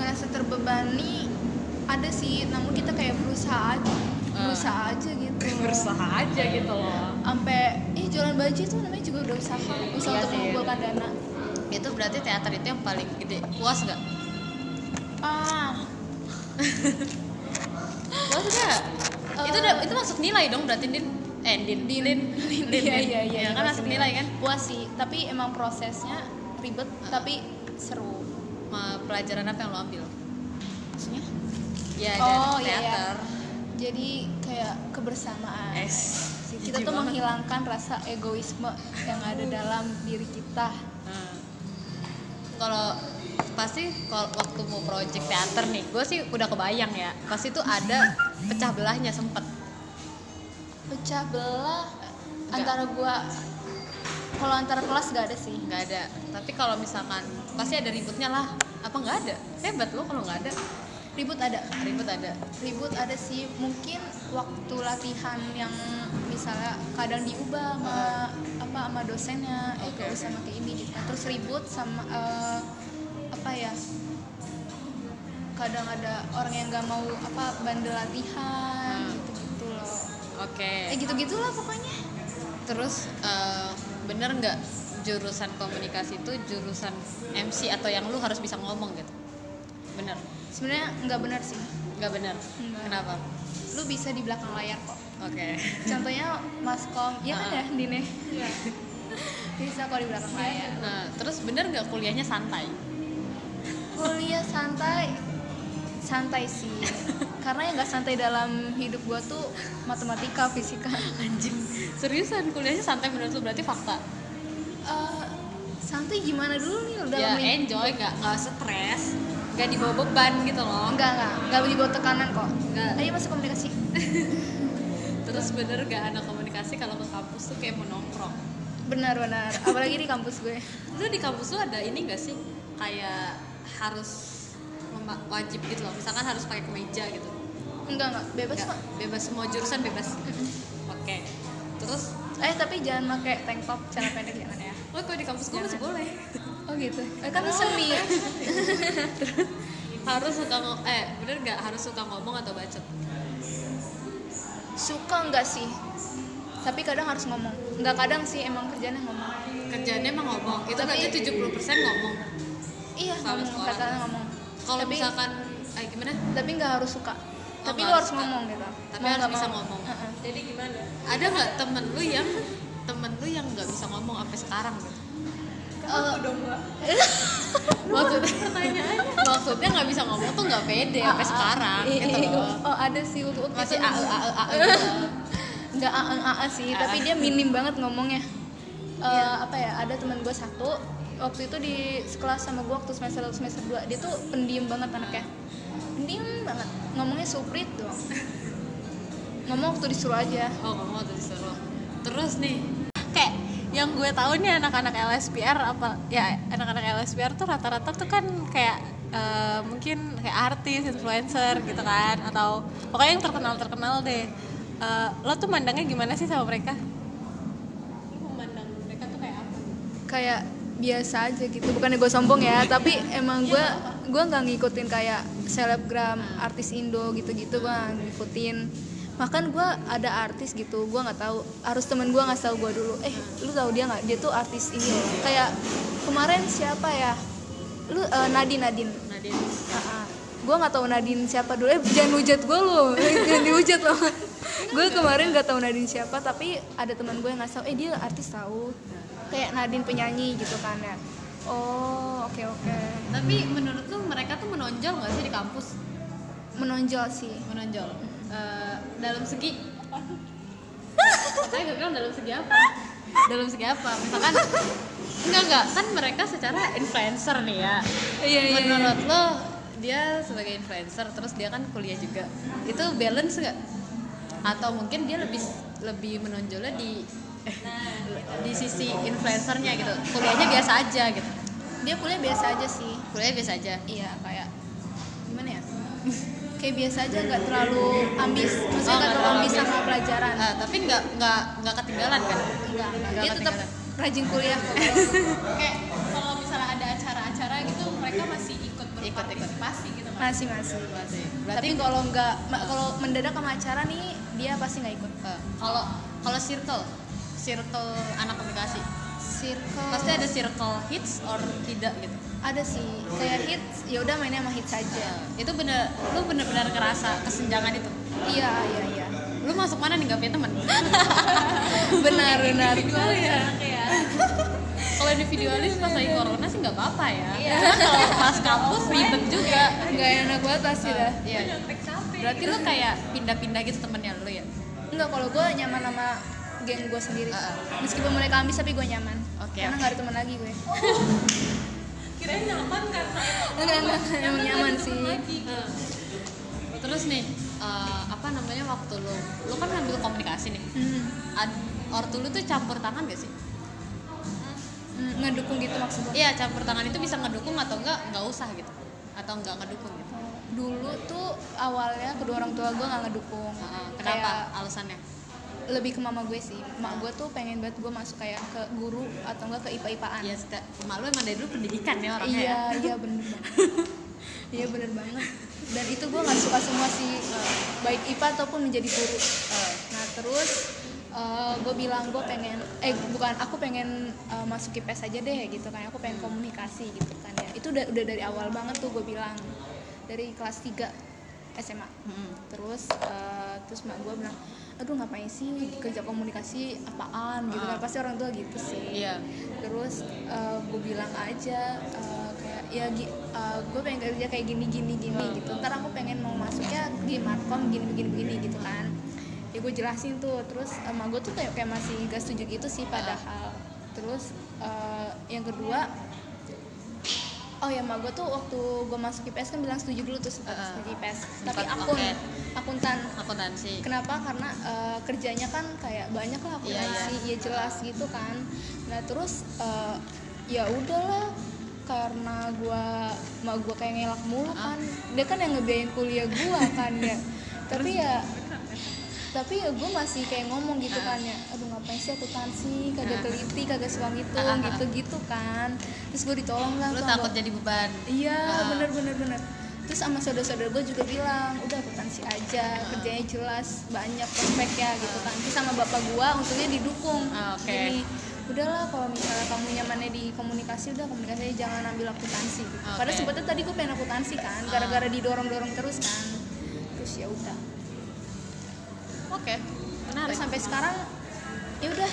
C: ngerasa terbebani ada sih namun kita kayak berusaha aja
A: Ah.
C: berusaha aja gitu
A: aja gitu loh.
C: sampai eh jualan baju itu namanya juga udah usaha usaha
A: Iya
C: untuk
A: sih.
C: mengumpulkan dana
A: Itu berarti teater itu yang paling gede. Puas nggak?
C: ah
A: Puas nggak?
C: Eh.
A: itu udah itu masuk nilai dong berarti din eh din din din, din,
C: Iya,
A: din.
C: iya, iya,
A: Ya, kan masuk nilai kan
C: puas sih tapi emang prosesnya ribet
A: Ah.
C: tapi seru
A: Ma, pelajaran apa yang lo ambil
C: maksudnya
A: ya
C: Oh,
A: dari
C: iya, iya.
A: teater
C: jadi kayak kebersamaan
A: es
C: kita tuh menghilangkan rasa egoisme yang ada dalam diri kita
A: Nah. kalau pasti kalau waktu mau project teater nih gue sih udah kebayang ya pasti tuh ada pecah belahnya sempet
C: pecah belah
A: Enggak.
C: antara gua kalau antar kelas nggak ada sih
A: nggak ada tapi kalau misalkan pasti ada ributnya lah apa nggak ada hebat lo kalau nggak ada
C: ribut ada
A: ribut ada
C: ribut ada sih mungkin waktu latihan yang misalnya kadang diubah sama apa sama dosennya eh
A: Oke,
C: gak usah pakai ini gitu. terus ribut sama eh, apa ya kadang ada orang yang nggak mau apa bandel latihan
A: Hmm.
C: gitu gitu loh
A: oke
C: eh gitu gitulah pokoknya
A: terus eh, bener nggak jurusan komunikasi itu jurusan MC atau yang lu harus bisa ngomong gitu bener
C: sebenarnya nggak benar sih
A: nggak bener
C: Nggak.
A: kenapa
C: lu bisa di belakang layar kok
A: oke
C: contohnya maskom iya kan
A: Ah.
C: ya Dine bisa kok di belakang layar
A: nah terus bener nggak kuliahnya santai
C: kuliah santai santai sih karena yang nggak santai dalam hidup gua tuh matematika fisika
A: anjing seriusan kuliahnya santai menurut lu berarti fakta
C: Eh, santai gimana dulu nih dalam
A: ya
C: hidup
A: enjoy nggak nggak stres nggak dibawa beban gitu loh
C: enggak enggak enggak dibawa tekanan kok
A: Nggak.
C: ayo masuk komunikasi
A: terus bener gak anak komunikasi kalau ke kampus tuh kayak mau nongkrong
C: benar benar apalagi di kampus gue
A: lu di kampus lu ada ini gak sih kayak harus mema- wajib gitu loh misalkan harus pakai kemeja gitu
C: enggak enggak bebas
A: Nggak,
C: kok
A: bebas semua jurusan bebas oke terus
C: eh tapi jangan pakai tank top celana pendek jangan ya
A: oh kalau di kampus gue masih
C: Jangan.
A: boleh
C: oh gitu eh, kan semi
A: harus suka ngo- eh bener gak harus suka ngomong atau bacot
C: suka enggak sih tapi kadang harus ngomong enggak kadang sih emang kerjanya ngomong
A: kerjaannya emang ngomong itu
C: Tapi-
A: berarti 70% ngomong
C: iya
A: Sama
C: ngomong
A: sekolah.
C: katanya ngomong
A: kalau
C: Tapi-
A: misalkan eh gimana
C: tapi nggak harus suka
A: Oh,
C: tapi
A: nggak
C: lu
A: harus
C: harus
A: suka.
C: ngomong gitu
A: tapi
C: Mau
A: harus
C: nggak
A: bisa
C: mau.
A: ngomong
C: Heeh.
A: jadi gimana ada nggak temen lu yang temen lu yang nggak bisa ngomong sampai sekarang gitu
C: Eh,
A: maksud pertanyaannya maksudnya nggak bisa ngomong tuh nggak pede sampai sekarang
C: iya,
A: gitu
C: iya.
A: loh
C: oh ada sih waktu waktu
A: masih
C: itu
A: a a a
C: nggak aeng aa sih
A: Aa.
C: tapi dia minim banget ngomongnya Eh,
A: Iya.
C: apa ya ada teman gue satu waktu itu di sekelas sama gue waktu semester 1 semester 2 dia tuh pendiam banget anaknya pendiam banget ngomongnya suprit dong ngomong waktu disuruh aja
A: oh ngomong tuh disuruh terus nih kayak yang gue tahu nih anak-anak LSPR apa ya anak-anak LSPR tuh rata-rata tuh kan kayak eh, mungkin kayak artis influencer gitu kan atau pokoknya yang terkenal terkenal deh Eh, lo tuh mandangnya gimana sih sama mereka lo memandang mereka tuh kayak apa
C: kayak biasa aja gitu bukannya gue sombong ya tapi emang gue gue nggak ngikutin kayak selebgram artis indo gitu-gitu gue ngikutin bahkan gue ada artis gitu gue nggak tahu harus temen gue nggak tahu gue dulu eh lu tahu dia nggak dia tuh artis ini loh. kayak kemarin siapa ya lu eh, Nadine Nadine
A: nah dia
C: gue nggak tahu Nadine siapa dulu eh jangan hujat gue lo jangan dihujat lo gue kemarin nggak tahu Nadine siapa tapi ada teman gue yang ngasih tahu eh dia artis tahu kayak Nadine penyanyi gitu kan ya oh oke oke
A: tapi menurut lu mereka tuh menonjol nggak sih di kampus
C: menonjol sih
A: menonjol Eh, dalam segi saya gak bilang dalam segi apa dalam segi apa misalkan enggak enggak kan mereka secara influencer nih ya
C: iya
A: menurut lo dia sebagai influencer terus dia kan kuliah juga itu balance nggak atau mungkin dia lebih lebih menonjolnya di eh, di sisi influencernya gitu kuliahnya biasa aja gitu
C: dia kuliah biasa aja sih
A: kuliahnya biasa aja
C: iya kayak gimana ya kayak biasa aja nggak terlalu ambis maksudnya
A: Oh,
C: nggak
A: nggak
C: terlalu
A: terlalu
C: ambis
A: ambis.
C: sama pelajaran
A: Ah, tapi nggak nggak nggak ketinggalan kan
C: enggak
A: Nggak
C: dia tetap
A: ketinggalan.
C: rajin kuliah kok
D: kayak kalau misalnya ada acara-acara gitu mereka masih ikut berpartisipasi gitu kan
C: masih masih
A: masih
C: tapi kalau nggak ma- kalau mendadak sama acara nih dia pasti nggak ikut
A: Eh, kalau kalau circle circle anak komunikasi
C: circle
A: pasti ada circle hits or tidak gitu
C: ada sih kayak hits ya udah mainnya sama hits aja
A: Eh, itu bener lu bener-bener ngerasa kesenjangan itu
C: iya iya iya
A: lu masuk mana nih gak punya teman
C: benar benar
A: ya kalau individualis pas lagi corona sih nggak apa-apa ya
D: Iya.
A: Cuman kalau pas kampus ribet juga
C: nggak enak banget pasti dah
A: iya berarti lu kayak pindah-pindah gitu temennya lu ya
C: enggak kalau gue nyaman sama geng gue sendiri
A: Ah,
C: meskipun mereka ambis tapi gue nyaman
A: Oke,
C: karena
A: oke.
C: nggak ada teman lagi gue
D: kirain nyaman
C: kan?
D: karena
C: enggak enggak emang nyaman sih
D: lagi
A: Eh, terus nih eh, apa namanya waktu lu lu kan ngambil komunikasi nih
C: Hmm.
A: Ad, ortu lu tuh campur tangan gak sih
C: mm, ngedukung gitu maksudnya
D: Iya, campur tangan itu bisa ngedukung atau enggak, enggak usah gitu. Atau enggak ngedukung gitu.
C: dulu tuh awalnya kedua orang tua gue nggak ngedukung
D: Nah, kenapa
C: Kayak-
D: alasannya?
C: lebih ke mama gue sih mak gue tuh pengen banget gue masuk kayak ke guru atau enggak ke ipa ipaan
D: Ya, seka- emak lu emang dari dulu pendidikan ya orangnya
C: iya
D: ya.
C: iya bener banget iya bener banget dan itu gue nggak suka semua sih eh, baik ipa ataupun menjadi guru nah terus eh, gue bilang gue pengen eh bukan aku pengen eh, masuk IPS aja deh gitu kan aku pengen komunikasi gitu kan ya itu udah udah dari awal banget tuh gue bilang dari kelas 3 SMA
D: Mm-mm.
C: terus eh, terus mak gue bilang aduh ngapain sih kerja komunikasi apaan gitu kan
D: Ah.
C: pasti orang tua gitu sih
D: Iya.
C: terus gue bilang aja eh, kayak ya gue pengen kerja kayak gini gini gini
D: Ah.
C: gitu ntar aku pengen mau masuknya di markom gini begini begini gitu kan ya gue jelasin tuh terus emak gue tuh kayak kayak masih gak setuju gitu sih
D: Ah.
C: padahal terus eh, yang kedua Oh ya, mak gue tuh waktu gue masuk IPS kan bilang setuju dulu tuh sempat
D: Heeh.
C: setuju IPS.
D: Sempat
C: Tapi akun,
D: pakai.
C: akuntan.
D: Akuntansi.
C: Kenapa? Karena eh, kerjanya kan kayak banyak lah
D: Iya,
C: akuntansi, ya jelas gitu kan. Nah terus eh, ya udahlah karena gua mak gua kayak ngelak mulu
D: Ah.
C: kan. Dia kan yang ngebiayain kuliah gua kan ya. Tapi ya tapi ya gue masih kayak ngomong gitu kan ya aduh ngapain sih akuntansi kagak
D: Ah.
C: teliti kagak suka ngitung
D: Ah, ah, ah.
C: gitu gitu kan terus gue ditolong lah
D: Lu
C: sama
D: takut
C: bap-
D: jadi beban.
C: Iya,
D: Ah.
C: bener bener bener. Terus sama saudara-saudara gue juga bilang, udah akuntansi aja,
D: Ah.
C: kerjanya jelas, banyak prospeknya gitu kan. Terus sama bapak gue, untungnya didukung.
D: Ah, oke.
C: Gini, udahlah kalau misalnya kamu nyamannya di komunikasi, udah komunikasi aja, jangan ambil akuntansi. Gitu.
D: Ah, Oke. Ah.
C: Padahal sebetulnya tadi gue pengen akuntansi kan, gara-gara didorong-dorong terus kan. Terus ya udah.
D: Oke. Menarik.
C: Terus sampai sekarang, ya udah,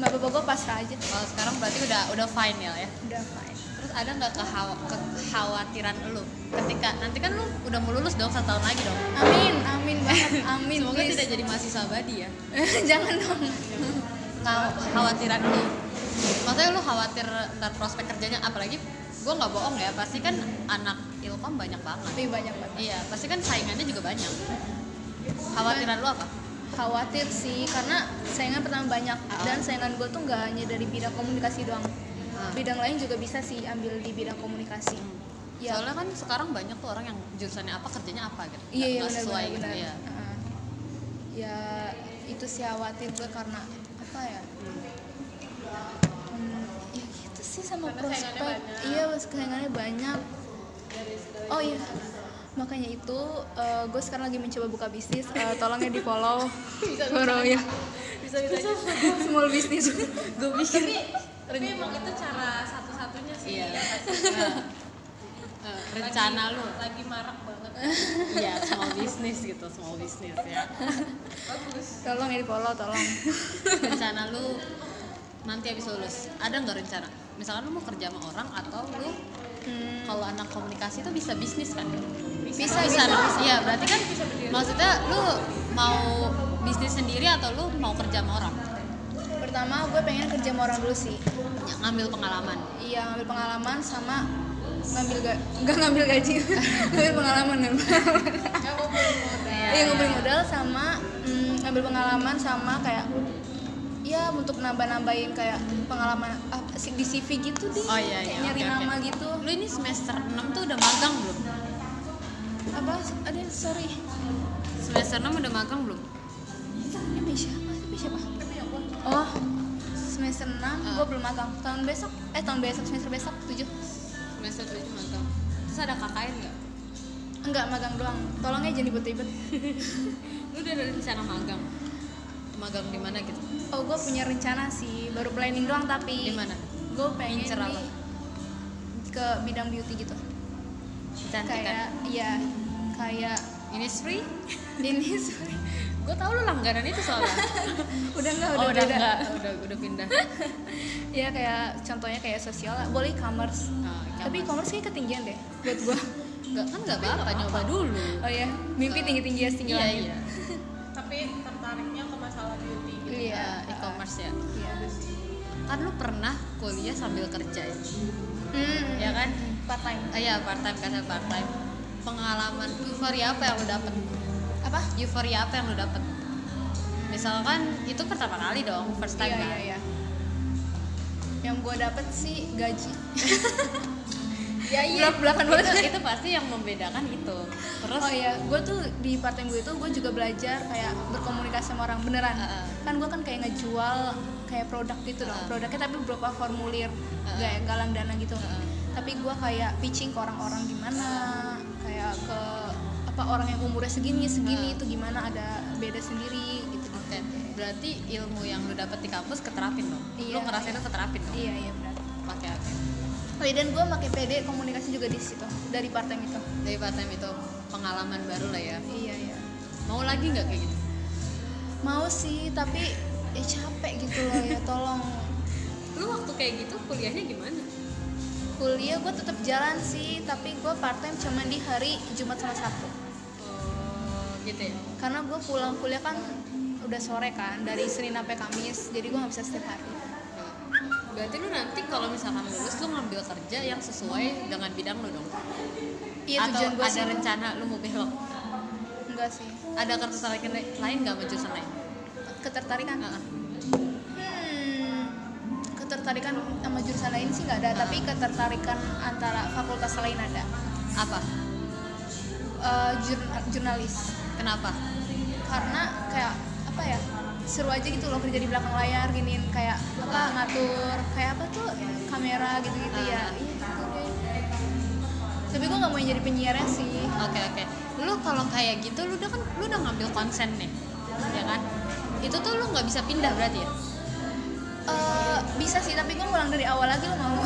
C: mbak bapak gue pasrah aja,
D: Kalau sekarang berarti udah udah fine ya ya.
C: udah fine.
D: Terus ada nggak kehawa- kekhawatiran lu ketika nanti kan lu udah mau lulus dong satu tahun lagi dong.
C: Amin, amin banget, amin.
D: Semoga
C: please.
D: tidak jadi mahasiswa abadi ya.
C: jangan dong.
D: Kalau kekhawatiran lu, maksudnya lu khawatir ntar prospek kerjanya apalagi gue nggak bohong ya pasti kan anak ilkom banyak banget.
C: Tapi banyak banget.
D: Iya, pasti kan saingannya juga banyak. Khawatiran lu apa?
C: khawatir sih karena saingan pertama banyak dan saingan gue tuh nggak hanya dari bidang komunikasi doang
D: Ah.
C: bidang lain juga bisa sih ambil di bidang komunikasi ya
D: Soalnya kan sekarang banyak tuh orang yang jurusannya apa kerjanya apa gitu.
C: iya iya
D: Nggak
C: benar
D: sesuai
C: benar
D: gitu
C: benar.
D: ya.
C: Heeh. ya itu sih khawatir gue karena apa ya Hmm, ya gitu sih sama
A: Karena saingannya
C: prospek
A: banyak.
C: iya saingannya banyak oh iya makanya itu gue sekarang lagi mencoba buka bisnis Eh, tolongnya di follow follow ya
A: bisa bisa
C: small business gue bikin
A: tapi emang itu cara satu-satunya sih
D: Iya.
A: yang satu-satunya.
D: Eh, rencana
A: Lagi-
D: lu
A: lagi marak banget
D: iya small business gitu small business ya
A: bagus
C: tolong ya di follow tolong
D: rencana lu nanti habis lulus ada nggak rencana misalkan lu mau kerja sama orang atau lu
C: Hmm,
D: kalau anak komunikasi itu bisa bisnis kan
C: bisa
D: bisa
C: bisa
D: iya berarti kan maksudnya lu mau bisnis sendiri atau lu mau kerja sama orang
C: pertama gue pengen kerja sama orang dulu sih
D: Ya, ngambil pengalaman
C: iya ngambil pengalaman sama ngambil ga nggak ngambil gaji ngambil pengalaman ngambil pengalaman. iya ngumpulin modal sama mm, ngambil pengalaman sama kayak ya untuk nambah-nambahin kayak pengalaman apa sih, di CV gitu deh
D: Oh, iya, iya,
C: kayak nyari
D: oke, oke.
C: nama gitu
D: lu ini semester 6 tuh udah magang belum
C: apa ada sorry
D: semester 6 udah magang belum
C: Ini Misha, ini siapa? Oh, semester 6
D: Ah.
C: gue belum magang. Tahun besok, eh tahun besok, semester besok 7.
D: semester 7 magang terus ada KKN nggak
C: Enggak, magang doang. Tolongnya jangan ribet-ribet.
D: lu udah ada rencana magang magang di mana gitu
C: Oh, gue punya rencana sih, baru planning doang tapi
D: di mana
C: Gue pengen
D: Incer apa?
C: nih ke bidang beauty gitu.
D: Kayak
C: Kayak iya, kayak
D: ini free
C: ini sorry.
D: gue tau lu langganan itu soalnya
C: Udah enggak,
D: oh
C: udah,
D: udah
C: beda.
D: enggak udah udah pindah
C: Iya, kayak contohnya kayak sosial, lah. boleh e-commerce.
D: Nah,
C: Tapi e-commerce kayaknya ketinggian deh buat gue.
D: nggak kan nggak apa-apa nyoba dulu
C: Oh iya, mimpi tinggi-tinggi ya, tinggi
D: iya
C: langit.
D: iya
A: tapi tertariknya ke masalah beauty gitu.
C: Iya,
D: Eh, e-commerce ya
C: Iya.
D: kan lu pernah kuliah sambil kerja ya,
C: Hmm,
D: ya kan
C: part time.
D: Ah, iya part time kan part time pengalaman euforia apa yang lu dapet
C: Apa?
D: euforia apa yang lu dapet misalkan itu pertama kali dong first time
C: Iya,
D: kan
C: iya, iya. yang gue dapet sih gaji
D: ya iya
C: Belak-belakan banget.
D: itu, itu pasti yang membedakan itu terus
C: oh iya gue tuh di part time gue itu gue juga belajar kayak berkomunikasi sama orang beneran
D: Heeh.
C: kan gue kan kayak ngejual kayak produk gitu dong
D: Heeh.
C: produknya tapi beberapa formulir
D: Heeh.
C: kayak galang dana gitu
D: Heeh.
C: tapi gue kayak pitching ke orang-orang gimana kayak ke apa orang yang umurnya segini segini
D: Heeh.
C: itu gimana ada beda sendiri gitu gitu
D: Dan berarti ilmu yang lu dapet di kampus keterapin dong
C: Iya.
D: lu ngerasain itu keterapin dong
C: iya iya benar
D: pakai
C: oh, iya, dan gue pakai PD komunikasi juga di situ dari part time itu
D: dari part time itu pengalaman baru lah ya
C: iya iya
D: mau lagi nggak kayak gitu
C: mau sih tapi ya capek gitu loh ya tolong
D: lu waktu kayak gitu kuliahnya gimana
C: kuliah gue tetap jalan sih tapi gue part time cuman di hari Jumat sama Sabtu
D: oh gitu ya
C: karena gue pulang kuliah kan udah sore kan dari Senin sampai Kamis jadi gue nggak bisa setiap hari
D: berarti lu nanti kalau misalkan lulus lu ngambil kerja yang sesuai dengan bidang lu dong
C: iya
D: atau
C: tujuan gue
D: ada
C: sih
D: rencana lu mau belok
C: enggak sih
D: ada ketertarikan lain nggak sama jurusan lain
C: ketertarikan
D: Heeh.
C: hmm ketertarikan sama jurusan lain sih nggak ada
D: Ah.
C: tapi ketertarikan antara fakultas lain ada
D: apa
C: Eh, jurn- jurnalis
D: kenapa
C: karena kayak apa ya seru aja gitu loh kerja di belakang layar giniin kayak apa ngatur kayak apa tuh kamera gitu-gitu ya
D: Ah.
C: Iya, gitu deh. tapi gue nggak mau jadi penyiarnya sih
D: oke oke lu kalau kayak gitu lu udah kan lu udah ngambil konsen nih ya kan itu tuh lu nggak bisa pindah berarti ya
C: Eh, bisa sih tapi gue ngulang dari awal lagi lo mau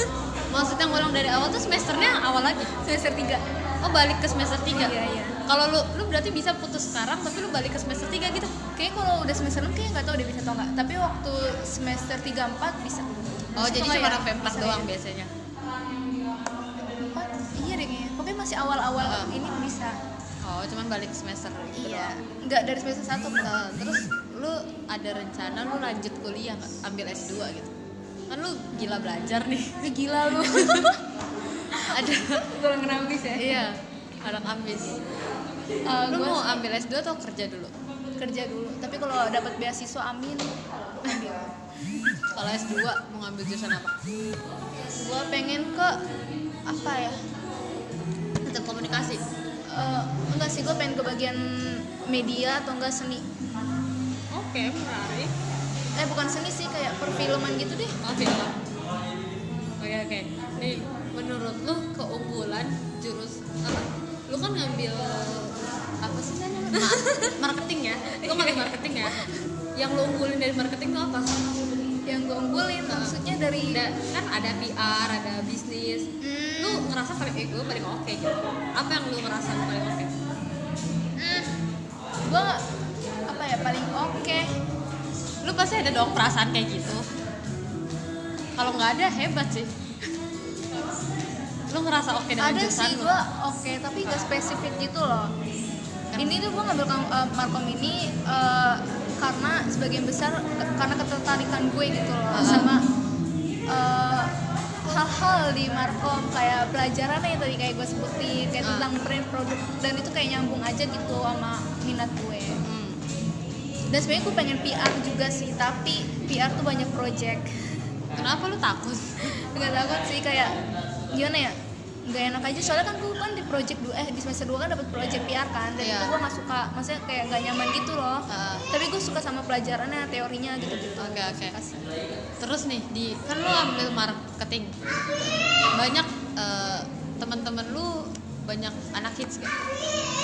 D: maksudnya ngulang dari awal tuh semesternya awal lagi
C: semester 3
D: oh balik ke semester 3
C: Iya, iya.
D: kalau lu lu berarti bisa putus sekarang tapi lu balik ke semester 3 gitu
C: kayaknya kalau udah semester 6 kayaknya nggak tahu deh bisa atau nggak tapi waktu semester 3 4 bisa
D: oh jadi
C: Atau
D: cuma
C: nggak ya?
D: Pemprov
C: Bisa,
D: doang
C: iya.
D: biasanya
C: Empat? iya deh kayaknya pokoknya masih awal-awal
D: Ah.
C: ini bisa
D: oh cuman balik ke semester gitu
C: iya
D: doang.
C: nggak dari semester 1
D: Nah, terus lu ada rencana lu lanjut kuliah nggak ambil S2 gitu kan lu gila belajar nih
C: Lu gila lu
D: ada
C: Kurang nangis ya
D: iya anak ambis lu
C: Eh, gua
D: mau
C: sih
D: ambil S2 atau kerja dulu
C: kerja dulu tapi kalau dapat beasiswa amin ambil
D: kalau S2 mau ngambil jurusan apa
C: gue pengen ke apa ya
D: tetap komunikasi
C: Eh, enggak sih gue pengen ke bagian media atau enggak seni
D: oke menarik
C: eh bukan seni sih kayak perfilman gitu deh
D: oh iya oke oke nih menurut lu keunggulan jurus apa lu kan ngambil apa sih saya namanya? Ma- marketing ya lu ngambil
C: Iya.
D: marketing ya yang lu unggulin dari marketing tuh apa
C: yang gue unggulin maksudnya dari
D: Ada- kan ada PR, ada bisnis.
C: Hmm,
D: Lu ngerasa paling eh, gue paling oke gitu. Apa yang lu ngerasa lu paling oke?
C: hmm, gue apa ya paling oke
D: Lu pasti ada dong perasaan kayak gitu. Kalau nggak ada hebat sih. lu ngerasa oke dengan
C: ada
D: jurusan
C: sih
D: lu.
C: gue oke tapi gak spesifik gitu loh ini tuh gue ngambil kam- eh, markom ini eh, karena sebagian besar ke- karena ketertarikan gue gitu loh
D: Ah.
C: sama eh, hal-hal di markom kayak pelajaran yang tadi kayak gue sebutin kayak
D: Ah.
C: tentang brand produk dan itu kayak nyambung aja gitu sama minat gue
D: Hmm.
C: dan sebenarnya gue pengen PR juga sih tapi PR tuh banyak project
D: Kenapa lu takut?
C: nggak takut sih kayak gimana ya nggak enak aja soalnya kan gue kan di project dua eh di semester 2 kan dapat project PR kan dan
D: Iya.
C: itu gue nggak suka maksudnya kayak nggak nyaman gitu loh
D: Heeh.
C: tapi gue suka sama pelajarannya teorinya gitu gitu
D: Oke oke. Terus nih di kan lu ambil marketing. Banyak eh, teman-teman lu banyak anak hits gak?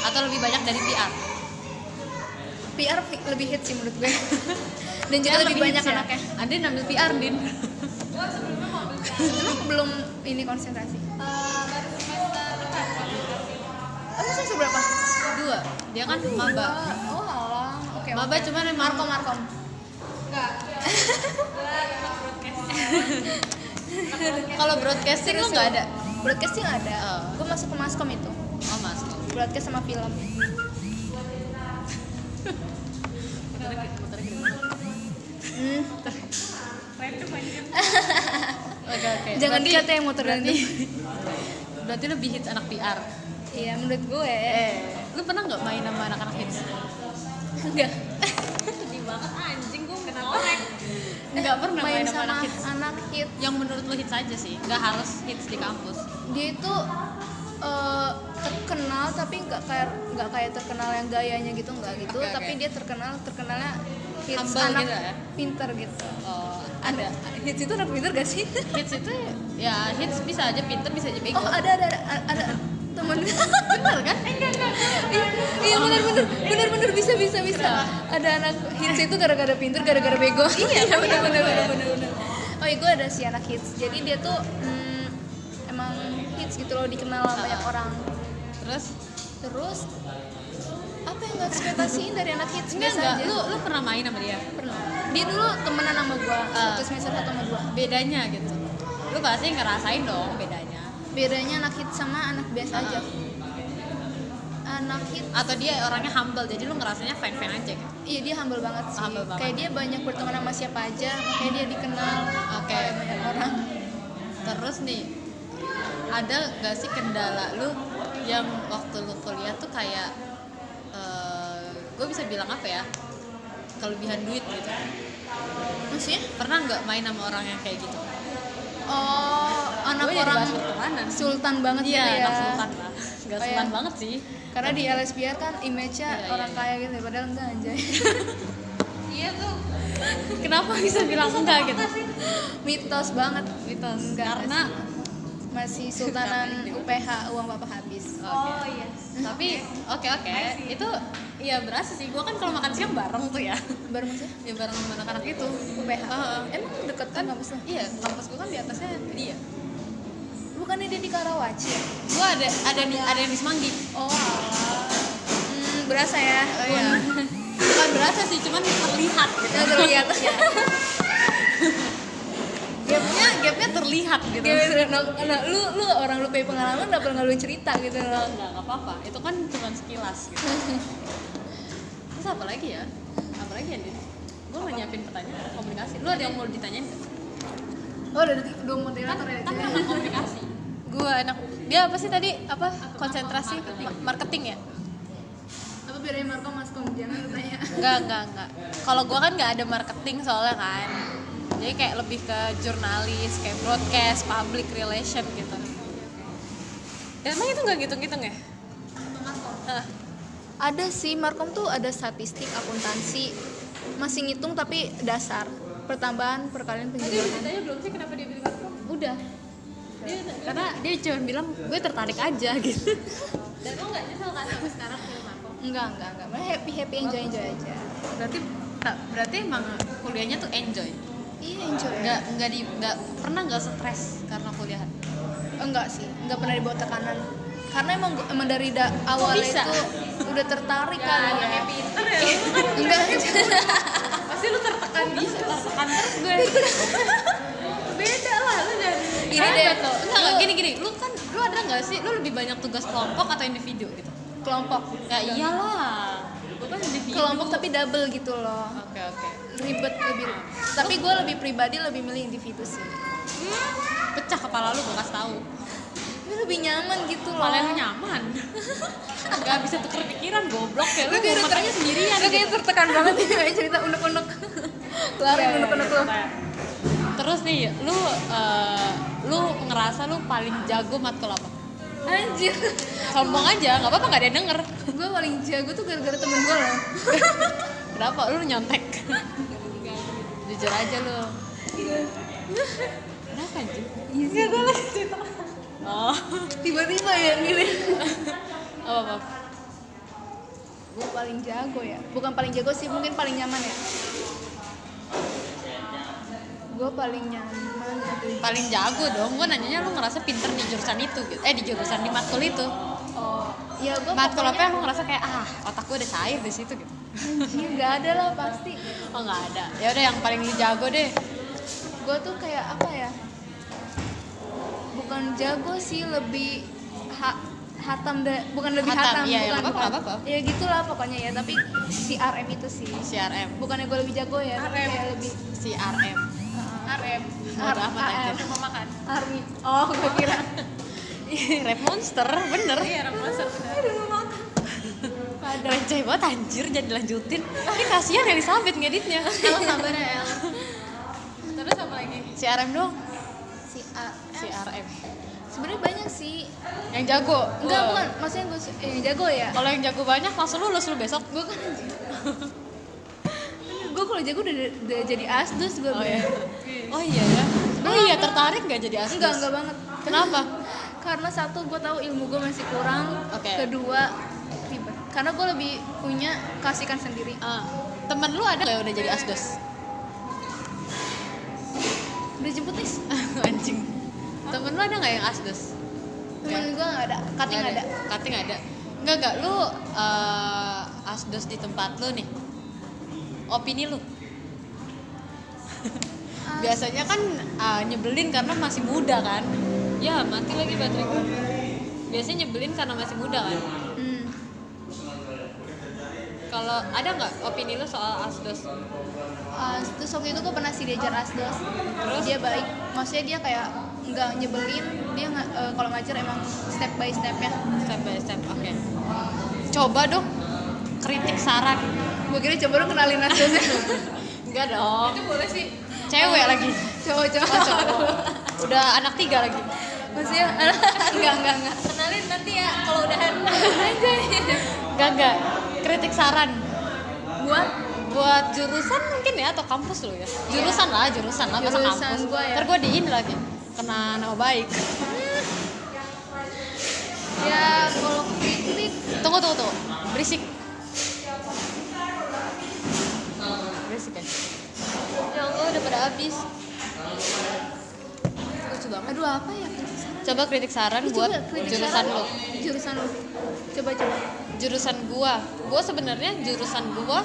D: Atau lebih banyak dari PR?
C: PR fi- lebih hit sih menurut gue dan juga
D: Kan
C: lebih, banyak
D: hits ya?
C: anaknya
D: Ada yang ambil PR, Din.
C: cuma belum ini konsentrasi Eh, masa seberapa
D: dua dia kan maba
C: oh alah oke
D: maba
C: oke.
D: cuman emang
C: markom markom
D: kalau broadcasting lu nggak ada
C: broadcast sih nggak ada
D: Oh.
C: gue masuk ke maskom itu
D: oh mas
C: broadcast sama film Hmm.
D: oke oke
C: Jangan
D: Berarti-
C: dikat ya muter
D: berarti,
C: nanti.
D: berarti lebih hits anak PR
C: Iya menurut gue
D: lu pernah nggak main sama anak-anak hits
C: enggak.
D: sedih banget anjing gue kenapa Nggak pernah main sama anak hits.
C: anak hits.
D: yang menurut lu hits aja sih nggak harus hits di kampus
C: dia itu eh, terkenal tapi nggak kayak nggak kayak terkenal yang gayanya gitu nggak gitu
D: Oke, oke.
C: tapi dia terkenal terkenalnya hits
D: Humble
C: anak
D: gitu ya?
C: pinter gitu
D: oh,
C: ada hits itu anak pinter gak sih
D: hits itu ya hits bisa aja pinter bisa aja bego
C: oh ada ada ada, ada temen Eh,
D: bener kan
C: iya iya, bener bener bener bener bisa bisa bisa ada anak hits itu gara-gara pinter gara-gara bego iya bener bener bener bener bener oh iya gue ada si anak hits jadi dia tuh mm, emang hits gitu loh dikenal sama banyak orang
D: terus
C: Terus apa yang gak ekspektasiin dari anak hits
D: enggak
C: biasa
D: enggak
C: aja?
D: lu lu pernah main sama dia
C: pernah. Dia dulu temenan sama gua,
D: Ah.
C: satu semester satu sama gua.
D: bedanya gitu lu pasti ngerasain dong bedanya
C: Bedanya anak hits sama anak biasa aja. Anak hits
D: atau dia orangnya humble jadi lu ngerasanya fan fan aja gitu
C: Iya dia humble banget sih.
D: Humble banget.
C: Kayak dia banyak berteman sama siapa aja, makanya dia dikenal
D: Oke.
C: oleh banyak orang.
D: terus nih ada gak sih kendala lu yang waktu lu kuliah tuh kayak gue bisa bilang apa ya kelebihan duit gitu
C: Maksudnya?
D: pernah nggak main sama orang yang kayak gitu
C: Oh, anak
D: Gua jadi
C: orang
D: bahas pertemanan.
C: sultan banget
D: iya Oh,
C: gitu ya.
D: nggak sultan lah nggak
C: Kayak-
D: sultan banget sih
C: Karena di LSBR kan image-nya
D: Iya, iya,
C: orang
D: iya.
C: kaya gitu, padahal enggak anjay.
A: Iya tuh.
D: kenapa bisa bilang enggak gitu
C: Mitos banget.
D: mitos
C: Enggak,
D: karena
C: Masih sultanan UPH, uang bapak habis.
D: Oke.
A: Oh yes.
D: iya. tapi oke oke itu iya berasa sih gue kan kalau makan siang bareng tuh ya
C: Baru maksudnya?
D: ya bareng sama anak-anak itu
C: UPH.
D: Heeh.
C: Emang deket kan kampusnya?
D: iya kampus gue kan di atasnya dia
C: Bukannya dia di Karawaci ya?
D: gue ada ada di ada yang di Semanggi
C: Oh alah. Hmm, berasa ya.
D: Oh, iya. bukan berasa sih cuman terlihat gitu
C: Yang terlihat.
D: gapnya Nah, gapnya terlihat gitu
C: Dia bener- nah, nah, lu lu orang lu punya pengalaman nggak pernah lu cerita gitu loh.
D: nggak nggak apa-apa itu kan cuman sekilas gitu terus apa lagi ya apa lagi ya Din gue nggak nyiapin pertanyaan komunikasi lu ada yang mau ditanyain nggak?
C: Oh, udah detik dua moderator ya.
D: kan emang komunikasi
A: Gue anak dia apa sih tadi apa konsentrasi marketing, ya?
C: Apa biar Marco Mas Kong jangan lu tanya.
A: Enggak enggak enggak. Kalau gue kan nggak ada marketing soalnya kan. Jadi kayak lebih ke jurnalis, kayak broadcast, public relation gitu. Emang itu nggak gitu-gitu ya? Hah.
C: Ada sih Markom tuh ada statistik, akuntansi, masih ngitung tapi dasar. Pertambahan, perkalian, penjumlahan.
A: Tanya belum sih kenapa dia bilang marketing?
D: udah karena dia cuma bilang gue tertarik aja gitu
A: Dan lo nggak nyesel kan sampai sekarang ke marketing?
C: Enggak, enggak, enggak. Mereka happy happy enjoy enjoy aja.
D: berarti tak- berarti emang kuliahnya tuh enjoy
C: Iya enjoy.
D: nggak nggak di nggak pernah nggak stres karena kuliah
C: enggak sih enggak pernah dibawa tekanan karena emang gua- emang dari da- awal
D: bisa?
C: itu udah tertarik kali ya
A: pinter ya. lu.
C: enggak
A: Pasti lu tertekan gitu. Tertekan terus gue. Beda lah lu dan
C: Gini
D: Hebat
C: deh,
D: loh. Enggak, enggak
C: lu-
D: gini gini. Lu kan lu ada nggak sih lu lebih banyak tugas kelompok atau individu gitu?
C: kelompok
D: Ya iyalah. Gue kan individu.
C: kelompok tapi double gitu loh
D: Oke, oke.
C: ribet lebih tapi gue lebih pribadi lebih milih individu sih
D: Pecah kepala lu gue kasih tahu.
C: tapi lebih nyaman gitu loh
D: Kepala lu nyaman. Enggak bisa tuker pikiran goblok ya lu.
C: Lu kayak
D: mau makannya sendirian.
C: Lu kayaknya
D: gitu.
C: tertekan banget nih kayak cerita unek-unek lari unek-unek lu
D: Terus nih, lu eh, lu ngerasa lu paling jago matkul apa?
C: anjir
D: Sombong aja, nggak apa-apa nggak ada yang denger.
C: gue paling jago tuh gara-gara temen gue loh
D: Kenapa lu nyontek? Jujur aja lu. Kenapa anjir?
C: Iya, gue lagi cerita.
D: Oh.
C: tiba-tiba ya gini
D: apa apa
C: gue paling jago ya bukan paling jago sih mungkin paling nyaman ya gue paling nyaman aduh.
D: paling jago dong gue nanyanya lu ngerasa pinter di jurusan itu gitu eh di jurusan di matkul itu
C: oh ya gue
D: matkul apa yang lu ngerasa kayak ah otak gue udah cair di situ gitu
C: anjir Iya, nggak ada lah pasti
D: oh nggak ada ya udah yang paling lu jago deh
C: gue tuh kayak apa ya bukan jago sih lebih ha- hatam deh bukan lebih hatam,
D: Hatam, iya,
C: bukan
D: iya, nggak apa-apa,
C: bukan.
D: nggak apa-apa.
C: ya gitulah pokoknya ya tapi si RM itu sih
D: CRM
C: bukannya gue lebih jago ya tapi
A: RM.
C: kayak lebih
D: CRM
A: RM.
D: Buat apa
C: AM.
D: anjir?
A: Rumah makan.
C: army oh gue kira
D: rap monster bener
A: Iya, rumah makan.
D: receh banget anjir jadi lanjutin ini kasihan Elizabeth ngeditnya
A: Kalau sabar ya El.
D: CRM dong
C: si A
D: CRM
C: sebenarnya banyak sih
D: yang jago
C: enggak
D: Wow.
C: bukan maksudnya gue su- eh, jago ya
D: kalau yang jago banyak langsung lulus lu besok
C: gue kan gue kalau jago udah, udah jadi asdus gue
D: oh iya oh iya ya oh iya tertarik nggak jadi asdos
C: enggak enggak banget
D: kenapa
C: karena satu gue tahu ilmu gue masih kurang
D: Oke.
C: kedua ribet karena gue lebih punya kasihkan sendiri
D: Ah, temen lu ada nggak udah jadi asdos
C: udah jemput nih
D: anjing temen lu ada nggak yang asdos
C: temen gue nggak ada kating nggak ada
D: kating Ya. nggak ada nggak nggak lu eh, asdos di tempat lu nih opini lu biasanya kan ah, nyebelin karena masih muda kan ya mati lagi baterai gua. biasanya nyebelin karena masih muda kan
C: Hmm.
D: kalau ada nggak opini lu soal asdos
C: Uh, terus waktu itu gue pernah sih diajar asdos dia baik maksudnya dia kayak nggak nyebelin dia nggak- eh, kalau ngajar emang step by stepnya
D: step by step oke coba dong kritik saran
C: gue kira coba lu kenalin asdosnya
D: enggak dong
B: Itu boleh sih.
D: cewek lagi
C: cowok
D: Oh,
C: cowok
D: cowok. udah anak tiga lagi
C: maksudnya enggak enggak enggak
D: kenalin nanti ya kalau udahan enggak enggak kritik saran
C: buat
D: buat jurusan mungkin ya atau kampus lo ya jurusan lah jurusan lah
C: Iya.
D: masa
C: Jurusan
D: kampus
C: gua ya.
D: ntar gue diin lagi kena nama baik
C: ya kalau kritik
D: tunggu tunggu tunggu berisik berisik kan ya Allah udah pada habis
C: lucu banget aduh apa ya kritik saran?
D: coba kritik saran
C: Lu
D: buat
C: coba kritik
D: jurusan
C: saran.
D: lo
C: jurusan lu coba coba
D: jurusan gua gua sebenarnya jurusan gua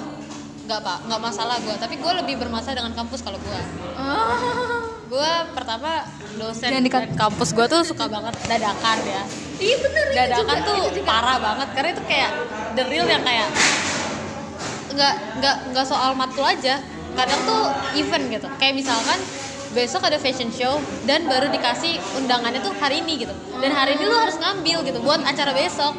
D: nggak pak nggak masalah gua tapi gua lebih bermasalah dengan kampus kalau gua
C: oh.
D: gua pertama dosen
C: Jangan dikat-
D: dan kampus gua tuh suka banget dadakan ya
C: iya bener itu
D: dadakan
C: juga,
D: tuh
C: itu juga.
D: parah banget karena itu kayak the real yang kayak nggak nggak nggak soal matkul aja kadang tuh event gitu kayak misalkan besok ada fashion show dan baru dikasih undangannya tuh hari ini gitu dan hari ini lu harus ngambil gitu buat acara besok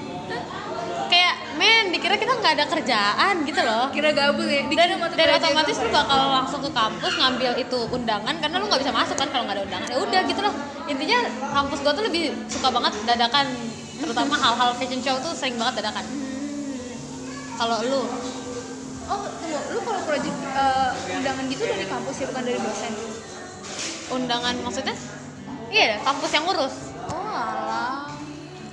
D: kayak men dikira kita nggak ada kerjaan gitu loh
C: kira gabung ya
D: dan,
C: dikira mata
D: dan
C: pelajaran
D: otomatis
C: gua.
D: lu bakal langsung ke kampus ngambil itu undangan karena lu nggak bisa masuk kan kalau nggak ada undangan ya udah gitu loh intinya kampus gua tuh lebih suka banget dadakan terutama hal-hal fashion show tuh sering banget dadakan kalau lu
C: oh tunggu lu kalau project eh, undangan gitu dari kampus ya bukan dari dosen
D: undangan maksudnya iya kampus yang ngurus
C: oh alah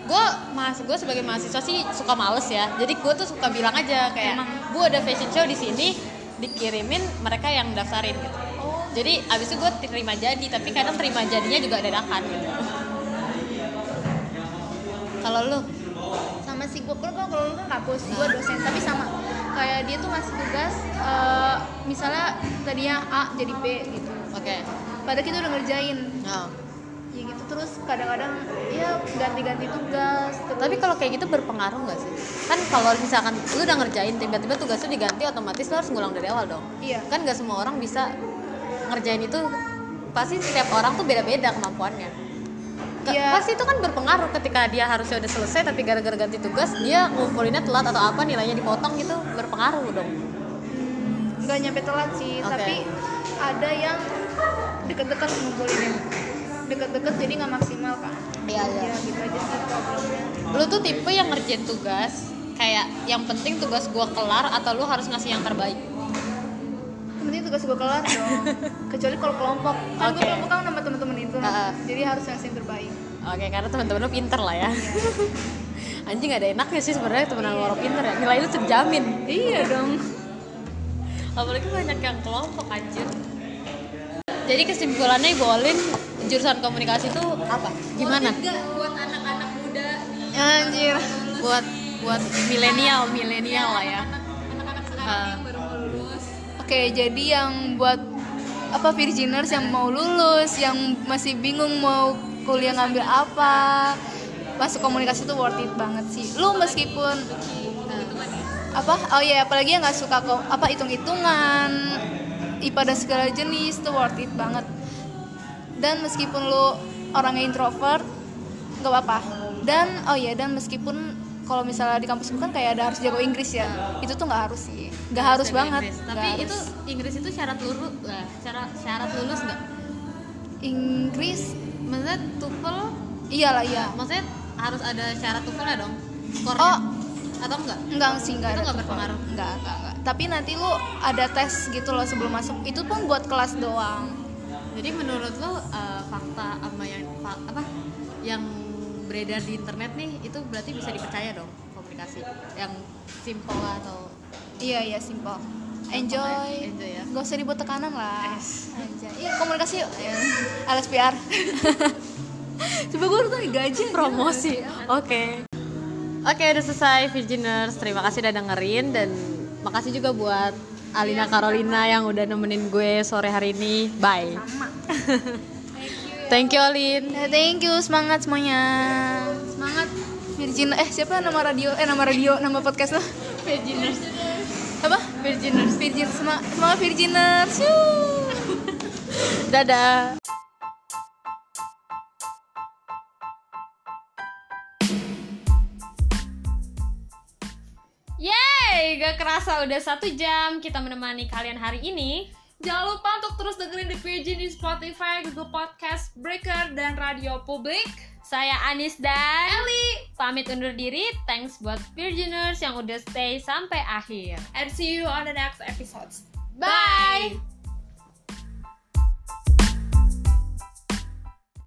D: gue mas gue sebagai mahasiswa sih suka males ya jadi gue tuh suka bilang aja kayak
C: Emang.
D: gue ada fashion show di sini dikirimin mereka yang daftarin gitu
C: Oh.
D: jadi abis itu gue terima jadi tapi kadang terima jadinya juga dadakan gitu kalau lu
C: sama si gue kan kalau lu kan kampus gue dosen tapi sama kayak dia tuh ngasih tugas eh, misalnya tadinya A jadi B gitu
D: oke
C: padahal kita udah ngerjain
D: nah
C: ya gitu terus kadang-kadang ya ganti-ganti tugas terus
D: tapi kalau kayak gitu berpengaruh gak sih kan kalau misalkan lu udah ngerjain tiba-tiba tugas lu diganti otomatis lu harus ngulang dari awal dong
C: iya
D: kan gak semua orang bisa ngerjain itu pasti setiap orang tuh beda-beda kemampuannya Ke-
C: Iya.
D: pasti itu kan berpengaruh ketika dia harusnya udah selesai tapi gara-gara ganti tugas dia ngumpulinnya telat atau apa nilainya dipotong gitu berpengaruh dong
C: nggak nyampe telat sih
D: Oke.
C: tapi ada yang deket-deket ngumpulinnya deket-deket jadi nggak maksimal kan
D: iya
C: ya gitu aja sih problemnya
D: lu tuh tipe yang ngerjain tugas kayak yang penting tugas gua kelar atau lu harus ngasih yang terbaik
C: Yang penting tugas gue kelar dong kecuali kalau kelompok kan gue
D: Oke.
C: kelompok kan sama temen-temen itu
D: Ah.
C: jadi harus yang yang terbaik
D: oke karena teman-teman lu pinter lah ya anjing ada enaknya sih sebenarnya temenan lu orang pinter ya nilai lu terjamin
C: iya dong
D: apalagi banyak yang kelompok anjir jadi kesimpulannya Bolin jurusan komunikasi itu apa gimana
B: buat anak-anak muda
D: anjir buat buat milenial milenial lah ya
B: anak-anak
D: Ah.
B: baru mau lulus
C: Oke, jadi yang buat apa Virginers yang mau lulus, yang masih bingung mau kuliah ngambil apa, masuk komunikasi itu worth it banget sih. Lu meskipun apa? Oh iya, apalagi yang nggak suka ko- apa hitung-hitungan, IPA dan segala jenis itu worth it banget. Dan meskipun lu orangnya introvert, nggak apa-apa. Dan oh iya, dan meskipun kalau misalnya di kampus gue kan kayak ada harus jago Inggris ya, itu tuh nggak harus sih, nggak harus
D: Bahasa
C: banget.
D: Inggris.
C: nggak
D: tapi
C: harus.
D: itu Inggris itu syarat eh, lulus lah syarat syarat lulus nggak Inggris maksudnya TOEFL
C: iyalah iya
D: maksudnya harus ada syarat TOEFL-nya dong skornya
C: oh
D: atau enggak
C: enggak sih enggak
D: Itu
C: ada
D: enggak
C: TOEFL.
D: berpengaruh?
C: enggak enggak enggak tapi nanti lu ada tes gitu loh sebelum masuk itu pun buat kelas doang
D: jadi menurut lo eh, fakta apa yang fa- apa yang beredar di internet nih itu berarti bisa dipercaya dong komunikasi yang simple lah atau
C: iya iya simpel enjoy
D: Enjoy ya.
C: gak usah dibuat tekanan lah Anjay. iya komunikasi yuk LSPR
D: coba gue udah gaji
A: promosi
D: Iya
A: oke oke udah selesai Virginers terima kasih udah dengerin dan makasih juga buat Alina Carolina yang udah nemenin gue sore hari ini bye thank you Alin
C: Nah, thank you semangat semuanya semangat Virgin eh siapa nama radio eh nama radio nama podcast lo
D: Virginers
C: apa Virginers Virgin semangat semangat Virginers Yuh.
A: dadah
D: Yeay, gak kerasa udah satu jam kita menemani kalian hari ini.
B: Jangan lupa untuk terus dengerin The Virgin di Spotify, Google Podcast, Breaker, dan Radio Publik.
D: Saya Anis dan Eli pamit undur diri. Thanks buat Virginers yang udah stay sampai akhir.
B: And see you on the next episodes.
D: Bye.